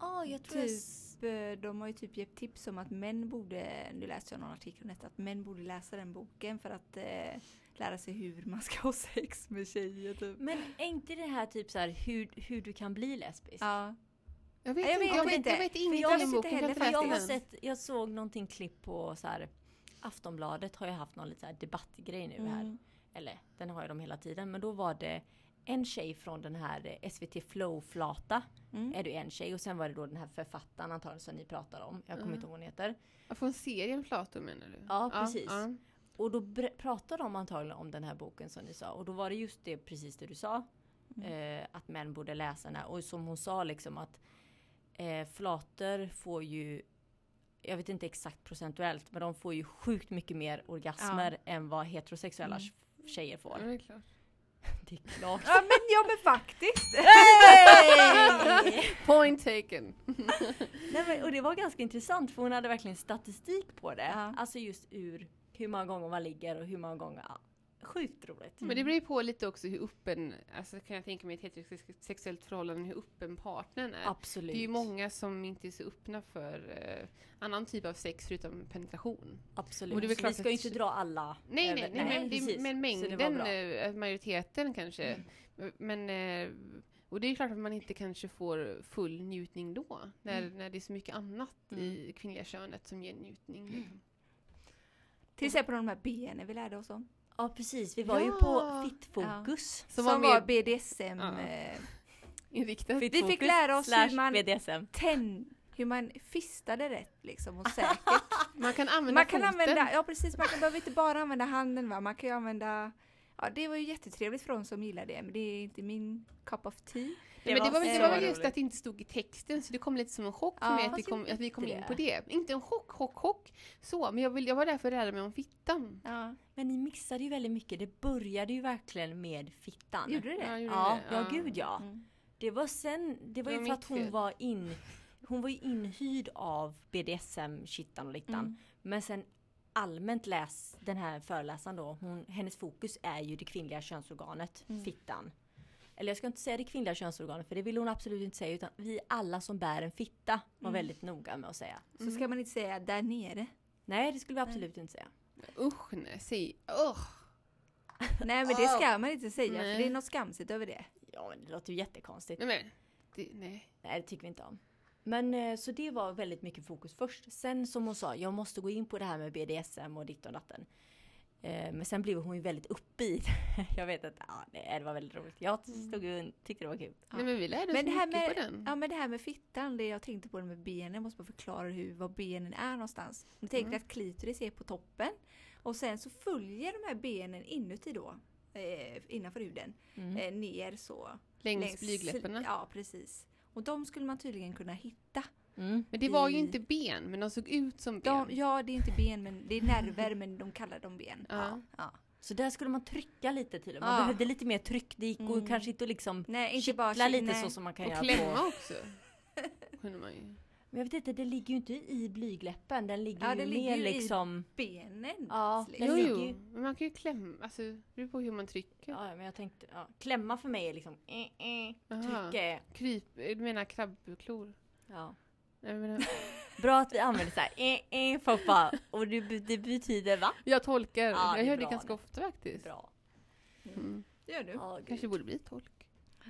[SPEAKER 3] Ja, jag tror jag...
[SPEAKER 4] Typ,
[SPEAKER 3] s-
[SPEAKER 4] eh, de har ju typ gett tips om att män borde, nu läste jag någon artikel om detta, att män borde läsa den boken för att eh, lära sig hur man ska ha sex med tjejer typ.
[SPEAKER 3] Men är inte det här typ så här hur, hur du kan bli lesbisk?
[SPEAKER 4] Ja.
[SPEAKER 5] Jag vet,
[SPEAKER 4] Jag
[SPEAKER 5] inte,
[SPEAKER 4] vet
[SPEAKER 5] jag vet
[SPEAKER 4] inte.
[SPEAKER 5] inte. Jag vet ingenting
[SPEAKER 4] jag
[SPEAKER 5] om
[SPEAKER 4] vet inte
[SPEAKER 5] boken.
[SPEAKER 4] heller
[SPEAKER 5] inte
[SPEAKER 3] För jag, har
[SPEAKER 5] läst den.
[SPEAKER 3] sett, jag såg någonting klipp på så här Aftonbladet har ju haft någon lite så här debattgrej nu här.
[SPEAKER 4] Mm.
[SPEAKER 3] Eller den har ju de hela tiden. Men då var det en tjej från den här eh, SVT Flow-flata.
[SPEAKER 4] Mm.
[SPEAKER 3] Är du en tjej? Och sen var det då den här författaren antagligen som ni pratar om. Jag kommer
[SPEAKER 5] Mm.
[SPEAKER 3] inte ihåg vad hon heter.
[SPEAKER 5] Ja, Från serien Plato menar du?
[SPEAKER 3] Ja, precis.
[SPEAKER 5] ja.
[SPEAKER 3] Och då br- pratade de antagligen om den här boken som ni sa. Och då var det just det precis det du sa. Eh, att män borde läsa den här. Och som hon sa liksom att eh, flator får ju jag vet inte exakt procentuellt men de får ju sjukt mycket mer orgasmer än vad heterosexuella tjejer
[SPEAKER 5] Ja,
[SPEAKER 3] får.
[SPEAKER 5] det är klart.
[SPEAKER 3] Det är Mm. klart.
[SPEAKER 4] Ja men, ja, men faktiskt!
[SPEAKER 5] Point taken.
[SPEAKER 3] Nej, men, och det var ganska intressant för hon hade verkligen statistik på det.
[SPEAKER 4] Ja.
[SPEAKER 3] Alltså just ur hur många gånger man ligger och hur många gånger... Ja, sjukt roligt.
[SPEAKER 5] Men det beror ju på lite också hur öppen, alltså kan jag tänka mig ett heterosexuellt förhållande, hur öppen partnern är.
[SPEAKER 3] Absolut.
[SPEAKER 5] Det är ju många som inte är så öppna för eh, annan typ av sex förutom penetration.
[SPEAKER 3] Absolut.
[SPEAKER 5] Och det är väl
[SPEAKER 3] Så vi
[SPEAKER 5] klart
[SPEAKER 3] ska ju
[SPEAKER 5] att-
[SPEAKER 3] inte dra alla
[SPEAKER 5] Nej,
[SPEAKER 3] över-
[SPEAKER 5] nej, nej, men, det,
[SPEAKER 3] precis.
[SPEAKER 5] men
[SPEAKER 3] Så det var
[SPEAKER 5] mängden,
[SPEAKER 3] bra.
[SPEAKER 5] eh, majoriteten kanske. Men, eh, och det är klart att man inte kanske får full njutning då, när, när det är så mycket annat i kvinnliga könet som ger njutning. Liksom.
[SPEAKER 4] Till exempel de här benen vi lärde oss om.
[SPEAKER 3] Ja precis, vi var ju
[SPEAKER 5] Ja.
[SPEAKER 3] på Fittfokus.
[SPEAKER 5] Som
[SPEAKER 4] Som,
[SPEAKER 5] var
[SPEAKER 4] var
[SPEAKER 5] mer-
[SPEAKER 4] BDSM.
[SPEAKER 5] Ja.
[SPEAKER 4] eh,
[SPEAKER 5] Inriktat.
[SPEAKER 4] Vi fick lära oss hur
[SPEAKER 3] slash
[SPEAKER 4] man-
[SPEAKER 3] BDSM.
[SPEAKER 4] Ten, hur man fistade rätt liksom och säkert.
[SPEAKER 5] Man kan använda
[SPEAKER 4] Man kan
[SPEAKER 5] foten.
[SPEAKER 4] använda, ja precis, man kan, behöver inte bara använda handen va, man kan ju använda Ja det var ju jättetrevligt för de som gillar det men det är inte min cup of tea.
[SPEAKER 5] Det men det var, väl- det var väl
[SPEAKER 3] så
[SPEAKER 5] just
[SPEAKER 3] roligt.
[SPEAKER 5] att det inte stod i texten, så det kom lite som en chock för
[SPEAKER 4] Ja,
[SPEAKER 5] mig att,
[SPEAKER 3] fast
[SPEAKER 5] det kom,
[SPEAKER 3] jag vet
[SPEAKER 5] att vi kom in
[SPEAKER 3] det.
[SPEAKER 5] på det. Inte en chock, chock, chock. Så, men jag, vill, jag var där för att lära mig om fittan.
[SPEAKER 4] Ja,
[SPEAKER 3] Men ni mixade ju väldigt mycket, det började ju verkligen med fittan.
[SPEAKER 4] gjorde du det?
[SPEAKER 5] Ja, gjorde
[SPEAKER 3] Ja,
[SPEAKER 5] det.
[SPEAKER 3] ja gud ja.
[SPEAKER 4] Mm.
[SPEAKER 3] Det var sen, det var
[SPEAKER 5] Det
[SPEAKER 3] ju
[SPEAKER 5] var mitt
[SPEAKER 3] för att hon
[SPEAKER 5] fel.
[SPEAKER 3] var in, hon var ju inhyrd av BDSM, Kittan och Littan.
[SPEAKER 4] Mm.
[SPEAKER 3] Men sen allmänt läs
[SPEAKER 4] Mm.
[SPEAKER 3] den här föreläsaren då, hon, hennes fokus är ju det kvinnliga könsorganet, fittan. eller jag ska inte säga det kvinnliga könsorganet för det ville hon absolut inte säga utan vi alla som bär en fitta var
[SPEAKER 4] Mm.
[SPEAKER 3] väldigt noga med att säga.
[SPEAKER 4] Så
[SPEAKER 5] Mm.
[SPEAKER 4] ska man inte säga där nere.
[SPEAKER 3] Nej det skulle vi absolut inte säga.
[SPEAKER 5] Usch, nej, säg usch.
[SPEAKER 4] Nej men det ska man inte säga
[SPEAKER 5] Nej.
[SPEAKER 4] för det är något skamset över det.
[SPEAKER 3] Ja men det låter ju jättekonstigt.
[SPEAKER 5] Nej, men, det, nej.
[SPEAKER 3] Nej det tycker vi inte om. Men eh, så det var väldigt mycket fokus först. Sen som hon sa, jag måste gå in på det här med BDSM och ditt och datten. Eh, Men sen blev hon ju väldigt uppe i det. Jag vet att ja, nej, det var väldigt roligt. Jag
[SPEAKER 4] Mm.
[SPEAKER 3] stod och tyckte det var kul.
[SPEAKER 5] nej, men vi lärde oss
[SPEAKER 4] Men det här
[SPEAKER 5] mycket på
[SPEAKER 4] med,
[SPEAKER 5] den.
[SPEAKER 4] ja, men det här med fittan, det jag tänkte på det med benen, jag måste bara förklara hur, var benen är någonstans. Om du tänker
[SPEAKER 5] Mm.
[SPEAKER 4] att klitoris är på toppen och sen så följer de här benen inuti då, eh, innanför huden, eh, ner så.
[SPEAKER 5] Mm. längs,
[SPEAKER 4] längs-
[SPEAKER 5] blygdläpparna.
[SPEAKER 4] Ja, precis. Och de skulle man tydligen kunna hitta.
[SPEAKER 3] Mm.
[SPEAKER 5] Men det var ju
[SPEAKER 4] i-
[SPEAKER 5] inte ben, men de såg ut som ben.
[SPEAKER 4] De, ja, det är inte ben, men det är nerver, men de kallar dem ben.
[SPEAKER 5] Ja.
[SPEAKER 4] ja.
[SPEAKER 3] Så där skulle man trycka lite till. Man
[SPEAKER 4] Ja.
[SPEAKER 3] behövde lite mer tryck. Det gick och kanske inte att liksom
[SPEAKER 4] Nej, inte bara
[SPEAKER 3] kittla lite
[SPEAKER 4] nej.
[SPEAKER 3] så som man kan
[SPEAKER 5] och
[SPEAKER 3] göra
[SPEAKER 5] klämma
[SPEAKER 3] på...
[SPEAKER 5] också. Kunde man ju.
[SPEAKER 3] Men jag vet inte, det ligger ju inte i blygläppen. Den ligger
[SPEAKER 4] Ja,
[SPEAKER 3] ju
[SPEAKER 4] den ligger
[SPEAKER 3] mer
[SPEAKER 4] ju i-
[SPEAKER 3] liksom...
[SPEAKER 4] Benen.
[SPEAKER 3] Ja,
[SPEAKER 4] liksom.
[SPEAKER 3] den
[SPEAKER 5] Jo,
[SPEAKER 3] ligger ju...
[SPEAKER 5] jo, men man kan ju klämma. Alltså, det beror på hur man trycker.
[SPEAKER 3] Ja, men jag tänkte... Ja. Klämma för mig är liksom... Eh, eh,
[SPEAKER 5] Aha.
[SPEAKER 3] trycka är-
[SPEAKER 5] Kryp, du menar krabbklor?
[SPEAKER 3] Ja.
[SPEAKER 5] Nej, jag menar-
[SPEAKER 3] Bra att vi använder så här... Eh, eh, pappa. Och det, be- det betyder va?
[SPEAKER 5] Jag tolkar.
[SPEAKER 3] Ja,
[SPEAKER 5] jag
[SPEAKER 3] det är
[SPEAKER 5] gör det
[SPEAKER 3] bra
[SPEAKER 5] ganska
[SPEAKER 3] nu.
[SPEAKER 5] ofta faktiskt.
[SPEAKER 3] Bra.
[SPEAKER 5] Mm.
[SPEAKER 4] Det gör du.
[SPEAKER 3] Ja, gud.
[SPEAKER 5] Kanske borde bli tolk.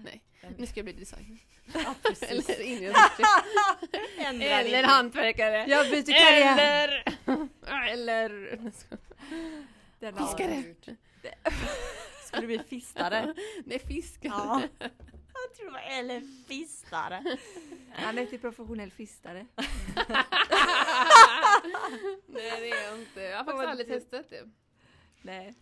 [SPEAKER 5] Nej,
[SPEAKER 3] Vem
[SPEAKER 5] nu ska jag bli designer.
[SPEAKER 3] Ja, precis.
[SPEAKER 5] Eller inredningsarkitekt.
[SPEAKER 3] Ändra
[SPEAKER 5] Eller
[SPEAKER 3] lite.
[SPEAKER 5] hantverkare.
[SPEAKER 4] Jag byter karriär.
[SPEAKER 5] Eller... Eller...
[SPEAKER 4] Den
[SPEAKER 3] Ja,
[SPEAKER 4] har-
[SPEAKER 5] Fiskare.
[SPEAKER 3] gud. Skulle bli fistare.
[SPEAKER 5] Nej, fiskare.
[SPEAKER 3] Ja. Jag tror det var eller fistare.
[SPEAKER 4] Han är till professionell fistare.
[SPEAKER 5] Nej, det är jag inte. Jag har faktiskt aldrig testat det.
[SPEAKER 4] Nej.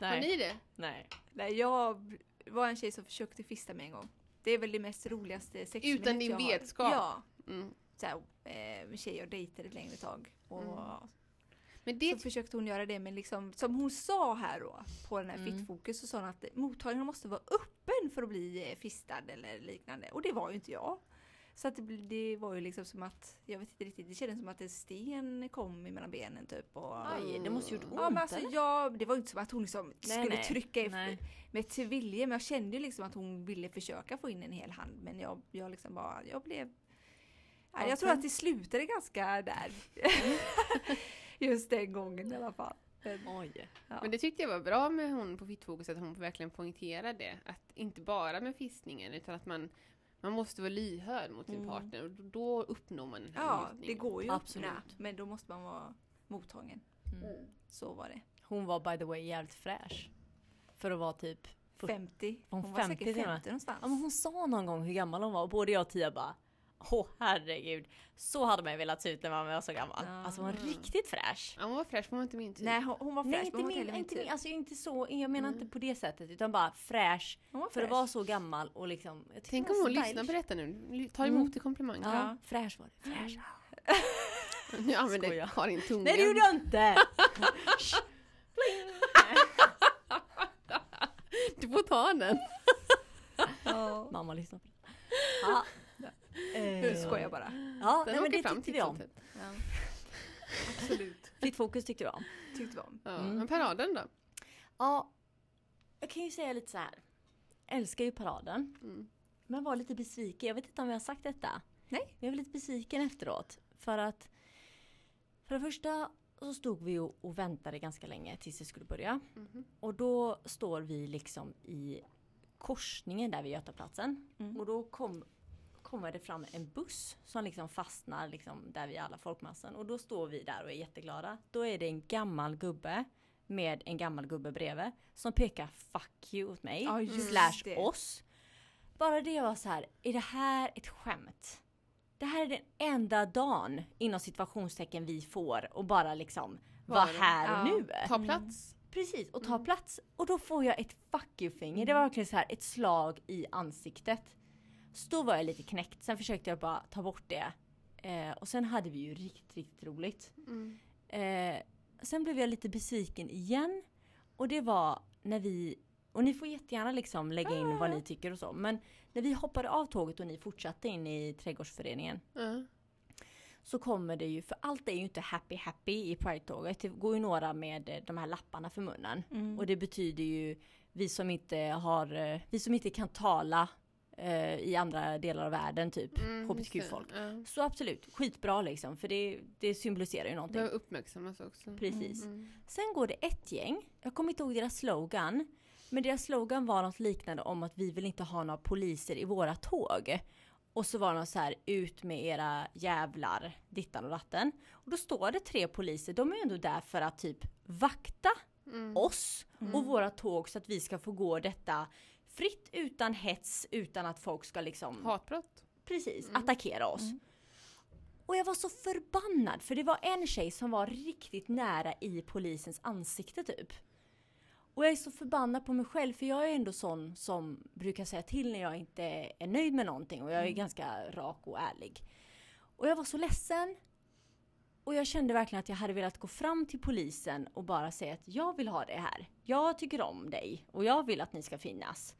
[SPEAKER 5] Har ni det?
[SPEAKER 3] Nej.
[SPEAKER 4] Nej, jag var en tjej som försökte fista mig en gång. Det är väl det mest roligaste sexminut
[SPEAKER 5] Utan din
[SPEAKER 4] jag har.
[SPEAKER 5] vetskap.
[SPEAKER 4] Ja.
[SPEAKER 5] Mm.
[SPEAKER 4] Så här, eh, en tjej jag dejtade ett längre tag. Och
[SPEAKER 5] Men
[SPEAKER 4] Så
[SPEAKER 5] det...
[SPEAKER 4] försökte hon göra det men liksom, som hon sa här då på den här
[SPEAKER 3] Mm.
[SPEAKER 4] fittfokus så sa hon att mottagningen måste vara öppen för att bli eh, fistad eller liknande. Och det var ju inte jag. Så att det, bli- det var ju liksom som att, jag vet inte riktigt, det kändes som att en sten kom mellan benen typ. Och,
[SPEAKER 3] Aj, det måste gjort ont.
[SPEAKER 4] Ja men alltså
[SPEAKER 3] eller?
[SPEAKER 4] jag, det var ju inte som att hon liksom skulle
[SPEAKER 3] nej.
[SPEAKER 4] trycka i-
[SPEAKER 3] Nej.
[SPEAKER 4] med till vilje men jag kände ju liksom att hon ville försöka få in en hel hand men jag, jag liksom bara, jag blev... Ja, jag tror att det slutade ganska där. Just den gången i alla fall.
[SPEAKER 3] Oj.
[SPEAKER 5] Men det tyckte jag var bra med hon på Fittfokus, att hon verkligen poängterade det. Att inte bara med fistningen, utan att man, man måste vara lyhörd mot sin partner. Och då uppnår man den här
[SPEAKER 4] Ja, det
[SPEAKER 5] njutningen.
[SPEAKER 4] går ju att
[SPEAKER 3] Absolut. Mm.
[SPEAKER 4] öppna, men då måste man vara mottagen. Så var det.
[SPEAKER 3] Hon var by the way jävligt fräsch. För att vara typ... Fyrtio.
[SPEAKER 4] 50.
[SPEAKER 3] Hon
[SPEAKER 4] Hon, var
[SPEAKER 3] 50
[SPEAKER 4] säkert
[SPEAKER 3] till och med.
[SPEAKER 4] 50 någonstans.
[SPEAKER 3] Ja, men hon sa någon gång hur gammal hon var och både jag och Tia bara Åh herregud, så hade man ju velat se ut när man var så gammal.
[SPEAKER 4] Ja.
[SPEAKER 3] Alltså hon var riktigt fräsch.
[SPEAKER 5] Ja, hon var fräsch, hon var inte min typ.
[SPEAKER 4] Nej, hon, hon var fräsch.
[SPEAKER 3] Nej
[SPEAKER 4] men
[SPEAKER 3] inte
[SPEAKER 4] hon var
[SPEAKER 3] min,
[SPEAKER 4] heller
[SPEAKER 3] inte
[SPEAKER 4] typ.
[SPEAKER 3] min, alltså inte så, jag menar inte på det sättet utan bara fräsch.
[SPEAKER 4] Hon var
[SPEAKER 3] För att
[SPEAKER 4] fräsch.
[SPEAKER 3] vara så gammal och liksom. jag tyckte
[SPEAKER 5] Tänk
[SPEAKER 3] det
[SPEAKER 5] om
[SPEAKER 3] var
[SPEAKER 5] hon
[SPEAKER 3] stylish.
[SPEAKER 5] lyssnar på detta nu. Ta emot det komplimangen.
[SPEAKER 3] Mm. Ja,
[SPEAKER 5] Ja.
[SPEAKER 3] fräsch var det.
[SPEAKER 4] Mm.
[SPEAKER 3] Fräsch.
[SPEAKER 5] Nu använder
[SPEAKER 3] Skoja.
[SPEAKER 5] Karin tungan.
[SPEAKER 3] Nej det gjorde jag inte!
[SPEAKER 5] Du får ta den.
[SPEAKER 4] Ja.
[SPEAKER 3] Mamma lyssnar på det. Ja.
[SPEAKER 4] Nu
[SPEAKER 3] Eh,
[SPEAKER 4] skojar jag
[SPEAKER 3] Ja,
[SPEAKER 4] bara.
[SPEAKER 5] Den
[SPEAKER 3] nej, men
[SPEAKER 5] åker
[SPEAKER 3] det
[SPEAKER 5] fram
[SPEAKER 3] tyckte
[SPEAKER 5] titt
[SPEAKER 3] vi
[SPEAKER 5] som
[SPEAKER 3] om.
[SPEAKER 5] tätt.
[SPEAKER 4] Ja. Absolut.
[SPEAKER 3] Fitt fokus tyckte vi om.
[SPEAKER 4] Tyckte vi om.
[SPEAKER 5] Ja.
[SPEAKER 3] Mm.
[SPEAKER 5] Men paraden då?
[SPEAKER 3] Ja, jag kan ju säga lite så här. Älskar ju paraden.
[SPEAKER 5] Mm.
[SPEAKER 3] Men var lite besviken. Jag vet inte om jag har sagt detta.
[SPEAKER 4] Nej.
[SPEAKER 3] Men jag var lite besviken efteråt. För att för det första så stod vi och, och väntade ganska länge tills det skulle börja.
[SPEAKER 4] Mhm.
[SPEAKER 3] Och då står vi liksom i korsningen där vid Götaplatsen.
[SPEAKER 4] Mm.
[SPEAKER 3] Och då kom, kommer det fram en buss som liksom fastnar liksom där vid alla folkmassan. Och då står vi där och är jätteglada. Då är det en gammal gubbe med en gammal gubbe bredvid som pekar 'fuck you' åt mig.
[SPEAKER 4] Ja, just
[SPEAKER 3] slash
[SPEAKER 4] det.
[SPEAKER 3] oss. Bara det var så här, är det här ett skämt? Det här är den enda dagen inom situationstecken vi får och bara liksom vara
[SPEAKER 5] Vara.
[SPEAKER 3] här och
[SPEAKER 4] Ja.
[SPEAKER 3] nu.
[SPEAKER 5] Ta plats.
[SPEAKER 3] Precis, och ta plats. Och då får jag ett fuck you-finger. Det var verkligen så här ett slag i ansiktet. Så då var jag lite knäckt. Sen försökte jag bara ta bort det. Eh, och sen hade vi ju riktigt, riktigt roligt.
[SPEAKER 5] Mm.
[SPEAKER 3] Eh, sen blev jag lite besviken igen. Och det var när vi, och ni får jättegärna liksom lägga in vad ni tycker och så. Men när vi hoppade av tåget och ni fortsatte in i trädgårdsföreningen
[SPEAKER 5] Ja. Mm,
[SPEAKER 3] så kommer det ju, för allt är ju inte happy happy i Pride-tåget. Det går ju några med eh, de här lapparna för munnen. Och det betyder ju vi som inte har, eh, vi som inte kan tala eh, i andra delar av världen typ,
[SPEAKER 5] Mm, just det.
[SPEAKER 3] hbtq-folk.
[SPEAKER 5] Ja.
[SPEAKER 3] Så absolut, skitbra liksom för det, det symboliserar ju
[SPEAKER 5] Det
[SPEAKER 3] någonting.
[SPEAKER 5] behöver uppmärksammas också.
[SPEAKER 3] Precis.
[SPEAKER 5] Mm.
[SPEAKER 3] Sen går det ett gäng, jag kommer inte ihåg deras slogan, men deras slogan var något liknande om att vi vill inte ha några poliser i våra tåg. Och så var de så här, ut med era jävlar, dittan och datten. Och då står det tre poliser, de är ju ändå där för att typ vakta
[SPEAKER 5] Mm.
[SPEAKER 3] oss och våra tåg så att vi ska få gå detta fritt utan hets, utan att folk ska liksom
[SPEAKER 5] Hatbrott.
[SPEAKER 3] precis, attackera oss. Och jag var så förbannad för det var en tjej som var riktigt nära i polisens ansikte typ. Och jag är så förbannad på mig själv för jag är ändå sån som brukar säga till när jag inte är nöjd med någonting och jag är ganska rak och ärlig. Och jag var så ledsen. Och jag kände verkligen att jag hade velat gå fram till polisen och bara säga att jag vill ha det här. Jag tycker om dig och jag vill att ni ska finnas.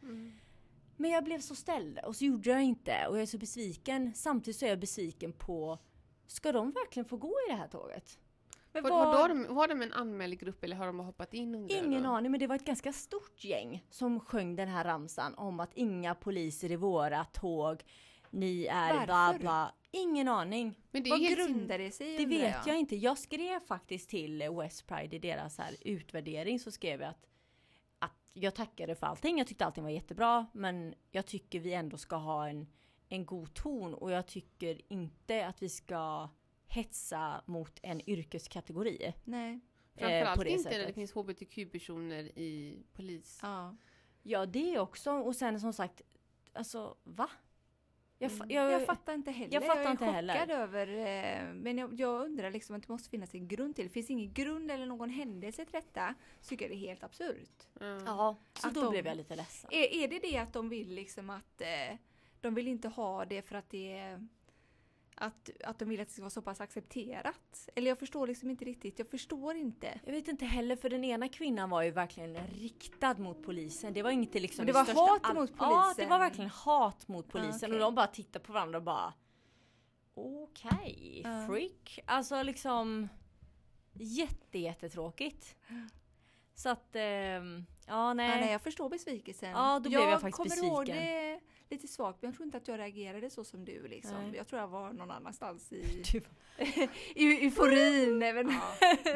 [SPEAKER 3] Men jag blev så ställd och så gjorde jag inte och jag är så besviken. Samtidigt så är jag besviken på, ska de verkligen få gå i det här tåget? Men
[SPEAKER 5] Var,
[SPEAKER 3] vad-
[SPEAKER 5] var, de, var de en anmäld grupp eller har de bara hoppat in under?
[SPEAKER 3] Ingen
[SPEAKER 5] då?
[SPEAKER 3] aning, men det var ett ganska stort gäng som sjöng den här ramsan om att inga poliser i våra tåg, ni är bla
[SPEAKER 4] Varför?
[SPEAKER 3] bla. Ingen aning.
[SPEAKER 5] Men det är
[SPEAKER 4] Vad
[SPEAKER 5] ju helt
[SPEAKER 4] grundar det sig i,
[SPEAKER 3] Det
[SPEAKER 4] undrar
[SPEAKER 3] vet jag inte. Jag skrev faktiskt till West Pride i deras här utvärdering så skrev jag att, att jag tackade för allting. Jag tyckte allting var jättebra men jag tycker vi ändå ska ha en, en god ton och jag tycker inte att vi ska hetsa mot en yrkeskategori. eh,
[SPEAKER 4] Nej.
[SPEAKER 5] Framförallt
[SPEAKER 3] på det
[SPEAKER 5] inte när det
[SPEAKER 3] sättet.
[SPEAKER 5] finns hbtq-personer i polis.
[SPEAKER 4] Ja.
[SPEAKER 3] Ja det också och sen som sagt, alltså va? Jag, fa- Mm. jag,
[SPEAKER 4] Jag fattar inte heller.
[SPEAKER 3] jag fattar
[SPEAKER 4] är
[SPEAKER 3] inte heller.
[SPEAKER 4] chockad över... eh, Men jag, jag undrar liksom att det måste finnas en grund till. Finns ingen grund eller någon händelse till detta så tycker jag det är helt absurt.
[SPEAKER 5] Ja.
[SPEAKER 3] ja, så
[SPEAKER 4] att
[SPEAKER 3] då
[SPEAKER 4] de-
[SPEAKER 3] blev jag lite ledsen.
[SPEAKER 4] Är, är det det att de vill liksom att eh, de vill inte ha det för att det är att, att de vill att det ska vara så pass accepterat? Eller jag förstår liksom inte riktigt. Jag förstår inte.
[SPEAKER 3] Jag vet inte heller för den ena kvinnan var ju verkligen riktad mot polisen. Det var inte liksom
[SPEAKER 4] Men det
[SPEAKER 3] i
[SPEAKER 4] var
[SPEAKER 3] största
[SPEAKER 4] hat
[SPEAKER 3] all-
[SPEAKER 4] mot
[SPEAKER 3] Ja det
[SPEAKER 4] polisen.
[SPEAKER 3] var verkligen hat mot polisen och
[SPEAKER 4] okej.
[SPEAKER 3] de bara tittade på varandra och bara Okej,
[SPEAKER 4] Ja.
[SPEAKER 3] freak. Alltså liksom jätte jättetråkigt. Så att ehm, ja nej.
[SPEAKER 4] Ja, nej, jag förstår besvikelsen.
[SPEAKER 3] Ja, då blev jag faktiskt
[SPEAKER 4] kommer
[SPEAKER 3] besviken.
[SPEAKER 4] ihåg det lite svagt men jag tror inte att jag reagerade så som du liksom.
[SPEAKER 3] Nej.
[SPEAKER 4] Jag tror jag var någon annanstans i,
[SPEAKER 3] Du,
[SPEAKER 4] i euforin. nej, men,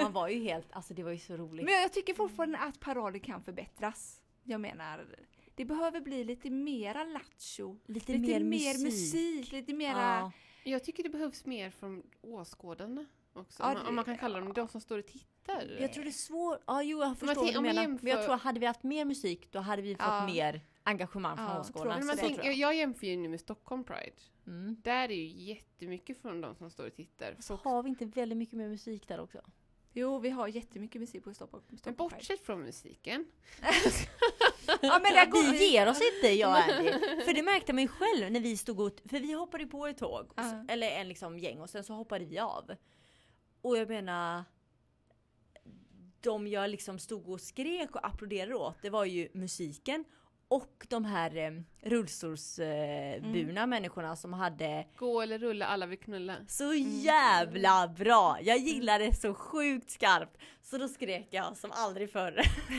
[SPEAKER 3] man var ju helt, alltså det var ju så roligt.
[SPEAKER 4] men jag tycker fortfarande att paraden kan förbättras. Jag menar, det behöver bli lite mera lattjo.
[SPEAKER 3] lite,
[SPEAKER 4] Lite,
[SPEAKER 3] mer,
[SPEAKER 4] mer,
[SPEAKER 3] musik.
[SPEAKER 4] musik. lite mera...
[SPEAKER 3] Ja.
[SPEAKER 5] Jag tycker det behövs mer från åskådarna också.
[SPEAKER 4] Ja,
[SPEAKER 5] om, man, om man kan
[SPEAKER 4] det-
[SPEAKER 5] kalla dem de som står och tittar.
[SPEAKER 3] Jag tror det är svårt, ja jo jag förstår
[SPEAKER 5] tänk-
[SPEAKER 3] vad du
[SPEAKER 5] om man
[SPEAKER 3] menar.
[SPEAKER 5] jämför-
[SPEAKER 3] Men jag tror hade vi haft mer musik då hade vi fått
[SPEAKER 4] Ja.
[SPEAKER 3] mer engagemang från
[SPEAKER 4] Ja,
[SPEAKER 3] åskådarna.
[SPEAKER 5] Men
[SPEAKER 4] tror
[SPEAKER 3] så
[SPEAKER 5] man
[SPEAKER 3] det
[SPEAKER 5] tänk,
[SPEAKER 3] tror
[SPEAKER 5] jag. jag jämför ju nu med Stockholm Pride.
[SPEAKER 3] jag. Mm.
[SPEAKER 5] Där är ju jättemycket från de som står och tittar.
[SPEAKER 3] Så
[SPEAKER 5] Folk,
[SPEAKER 3] har vi inte väldigt mycket mer musik där också?
[SPEAKER 4] Jo, vi har jättemycket musik på Stockholm.
[SPEAKER 5] men
[SPEAKER 4] Stockholm Pride.
[SPEAKER 5] bortsett från musiken.
[SPEAKER 4] Ja, men där går
[SPEAKER 3] Vi
[SPEAKER 4] vi.
[SPEAKER 3] ger oss inte jag och Andy. För det märkte man ju själv när vi stod och, för vi hoppade på ett tåg, och så-
[SPEAKER 4] Ja.
[SPEAKER 3] eller en liksom gäng och sen så hoppade vi av. Och jag menar, de jag liksom stod och skrek och applåderade åt, det var ju musiken och de här eh,
[SPEAKER 4] Mm.
[SPEAKER 3] rullstolsburna eh, människorna som hade
[SPEAKER 5] Gå eller rulla, alla vill knulla.
[SPEAKER 3] Så
[SPEAKER 4] Mm.
[SPEAKER 3] jävla bra! Jag gillade det så sjukt skarpt. Så då skrek jag som aldrig förr.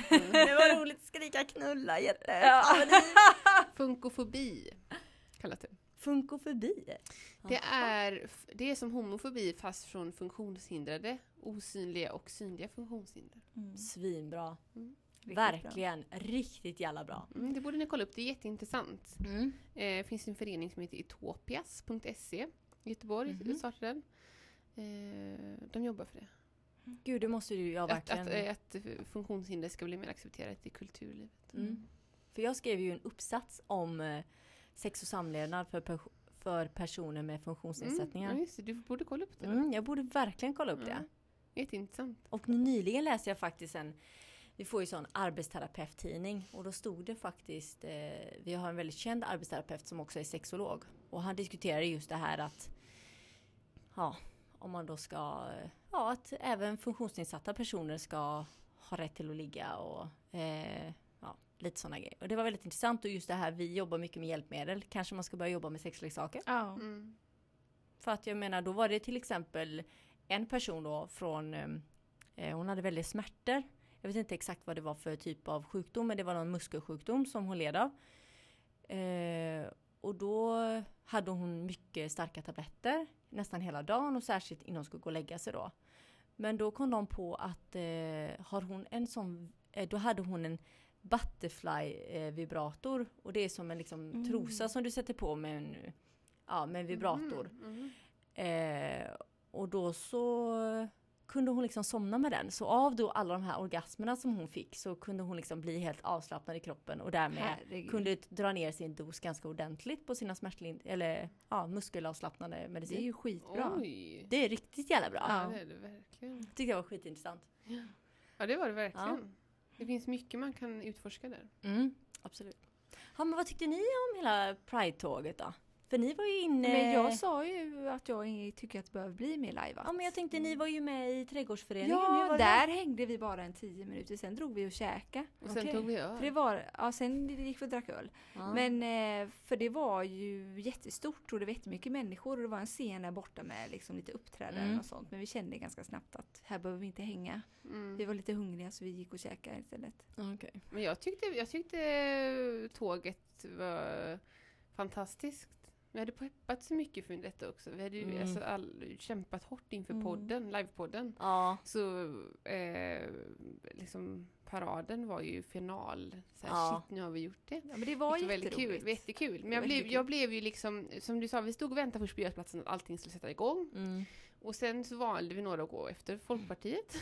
[SPEAKER 4] Mm.
[SPEAKER 3] det var roligt att skrika knulla jätte.
[SPEAKER 5] Funkofobi kallas det.
[SPEAKER 3] Funkofobi.
[SPEAKER 5] Det är, det är som homofobi fast från funktionshindrade, osynliga och synliga funktionshinder.
[SPEAKER 3] Svinbra.
[SPEAKER 4] Riktigt bra.
[SPEAKER 3] Verkligen. Riktigt jävla bra.
[SPEAKER 5] Mm, det borde ni kolla upp, det är jätteintressant.
[SPEAKER 3] Mm.
[SPEAKER 5] Eh, finns en förening som heter Utopias.se i Göteborg, startade den. Eh, de jobbar för det.
[SPEAKER 3] Gud, det måste du jag
[SPEAKER 5] Att,
[SPEAKER 3] verkligen.
[SPEAKER 5] att, eh, att funktionshinder ska bli mer accepterat i kulturlivet.
[SPEAKER 3] Mm. För jag skrev ju en uppsats om eh, sex och samlevnad för, pers- för personer med
[SPEAKER 5] Mm,
[SPEAKER 3] funktionsnedsättningar.
[SPEAKER 5] just det, du borde kolla upp det. då.
[SPEAKER 3] Mm, jag borde verkligen kolla upp
[SPEAKER 5] Mm.
[SPEAKER 3] det.
[SPEAKER 5] Jätteintressant.
[SPEAKER 3] Och nyligen läste jag faktiskt en, vi får ju sån arbetsterapeuttidning och då stod det faktiskt, eh, vi har en väldigt känd arbetsterapeut som också är sexolog och han diskuterade just det här att, ja, om man då ska, eh, ja, att även funktionsnedsatta personer ska ha rätt till att ligga och eh, ja, lite sådana grejer. Och det var väldigt intressant och just det här, vi jobbar mycket med hjälpmedel, kanske man ska börja jobba med sexleksaker.
[SPEAKER 4] Ja.
[SPEAKER 5] Mm.
[SPEAKER 3] För att jag menar, då var ehm, det till exempel en person då från, eh, eh, hon hade väldigt smärtor Jag vet inte exakt vad det var för typ av sjukdom, men det var någon muskelsjukdom som hon led av. Eh, och då hade hon mycket starka tabletter nästan hela dagen och särskilt innan hon skulle gå och lägga sig då. Men då kom de på att eh, har hon en sån, eh, då hade hon en butterfly eh, vibrator och det är som en liksom, trosa som du sätter på med en, ja, med en vibrator.
[SPEAKER 5] Mhm.
[SPEAKER 3] Eh, och då så kunde hon liksom somna med den. Så av då alla de här orgasmerna som hon fick så kunde hon liksom bli helt avslappnad i kroppen och därmed
[SPEAKER 4] Herregud.
[SPEAKER 3] kunde t- dra ner sin dos ganska ordentligt på sina smärtlind eller ja, muskelavslappnande
[SPEAKER 4] Det är
[SPEAKER 3] medicin.
[SPEAKER 4] ju skitbra.
[SPEAKER 5] Oj!
[SPEAKER 3] Det är riktigt jävla bra.
[SPEAKER 5] Ja. det är det verkligen.
[SPEAKER 3] Tyckte jag var skitintressant.
[SPEAKER 5] Ja, det var det verkligen. Det finns mycket man kan utforska där.
[SPEAKER 3] Mm, absolut. Ja, men vad tyckte ni om hela Pride-tåget då? För ni var ju inne...
[SPEAKER 4] Men jag sa ju att jag inte tycker att det behöver bli mer live
[SPEAKER 3] Ja, men jag tänkte ni var ju med i trädgårdsföreningen. Hur
[SPEAKER 4] Ja,
[SPEAKER 3] var det
[SPEAKER 4] där hängde vi bara en tio minuter, sen drog vi och käkade.
[SPEAKER 5] Och sen
[SPEAKER 3] Okej.
[SPEAKER 5] tog vi
[SPEAKER 4] För det
[SPEAKER 5] öl.
[SPEAKER 4] var, ja, sen gick vi och drack öl.
[SPEAKER 3] Ja.
[SPEAKER 4] Men eh, för det var ju jättestort och det var jättemycket människor och det var en scen där borta med liksom lite uppträdanden
[SPEAKER 3] Mm.
[SPEAKER 4] och sånt. Men vi kände ganska snabbt att här behöver vi inte hänga. Vi
[SPEAKER 5] Mm.
[SPEAKER 4] var lite hungriga så vi gick och käkade istället.
[SPEAKER 3] Ja, okej.
[SPEAKER 5] Men jag tyckte, jag tyckte tåget var fantastiskt. Vi hade peppat så mycket för detta också. Vi hade ju
[SPEAKER 3] Mm.
[SPEAKER 5] alltså all, kämpat hårt inför
[SPEAKER 4] Mm.
[SPEAKER 5] podden, livepodden.
[SPEAKER 3] Ja.
[SPEAKER 5] Så eh, liksom paraden var ju final. Så här,
[SPEAKER 3] Ja.
[SPEAKER 5] Shit, nu har vi gjort det.
[SPEAKER 4] Ja, men det var
[SPEAKER 5] Det var väldigt kul,
[SPEAKER 4] jätteroligt.
[SPEAKER 5] det var jättekul. Men
[SPEAKER 4] Det
[SPEAKER 5] jag
[SPEAKER 4] var
[SPEAKER 5] blev,
[SPEAKER 4] jättekul.
[SPEAKER 5] jag blev ju liksom, som du sa, vi stod och väntade först på Götplatsen att allting skulle sätta igång.
[SPEAKER 3] Mm.
[SPEAKER 5] Och sen så valde vi några att gå efter Folkpartiet.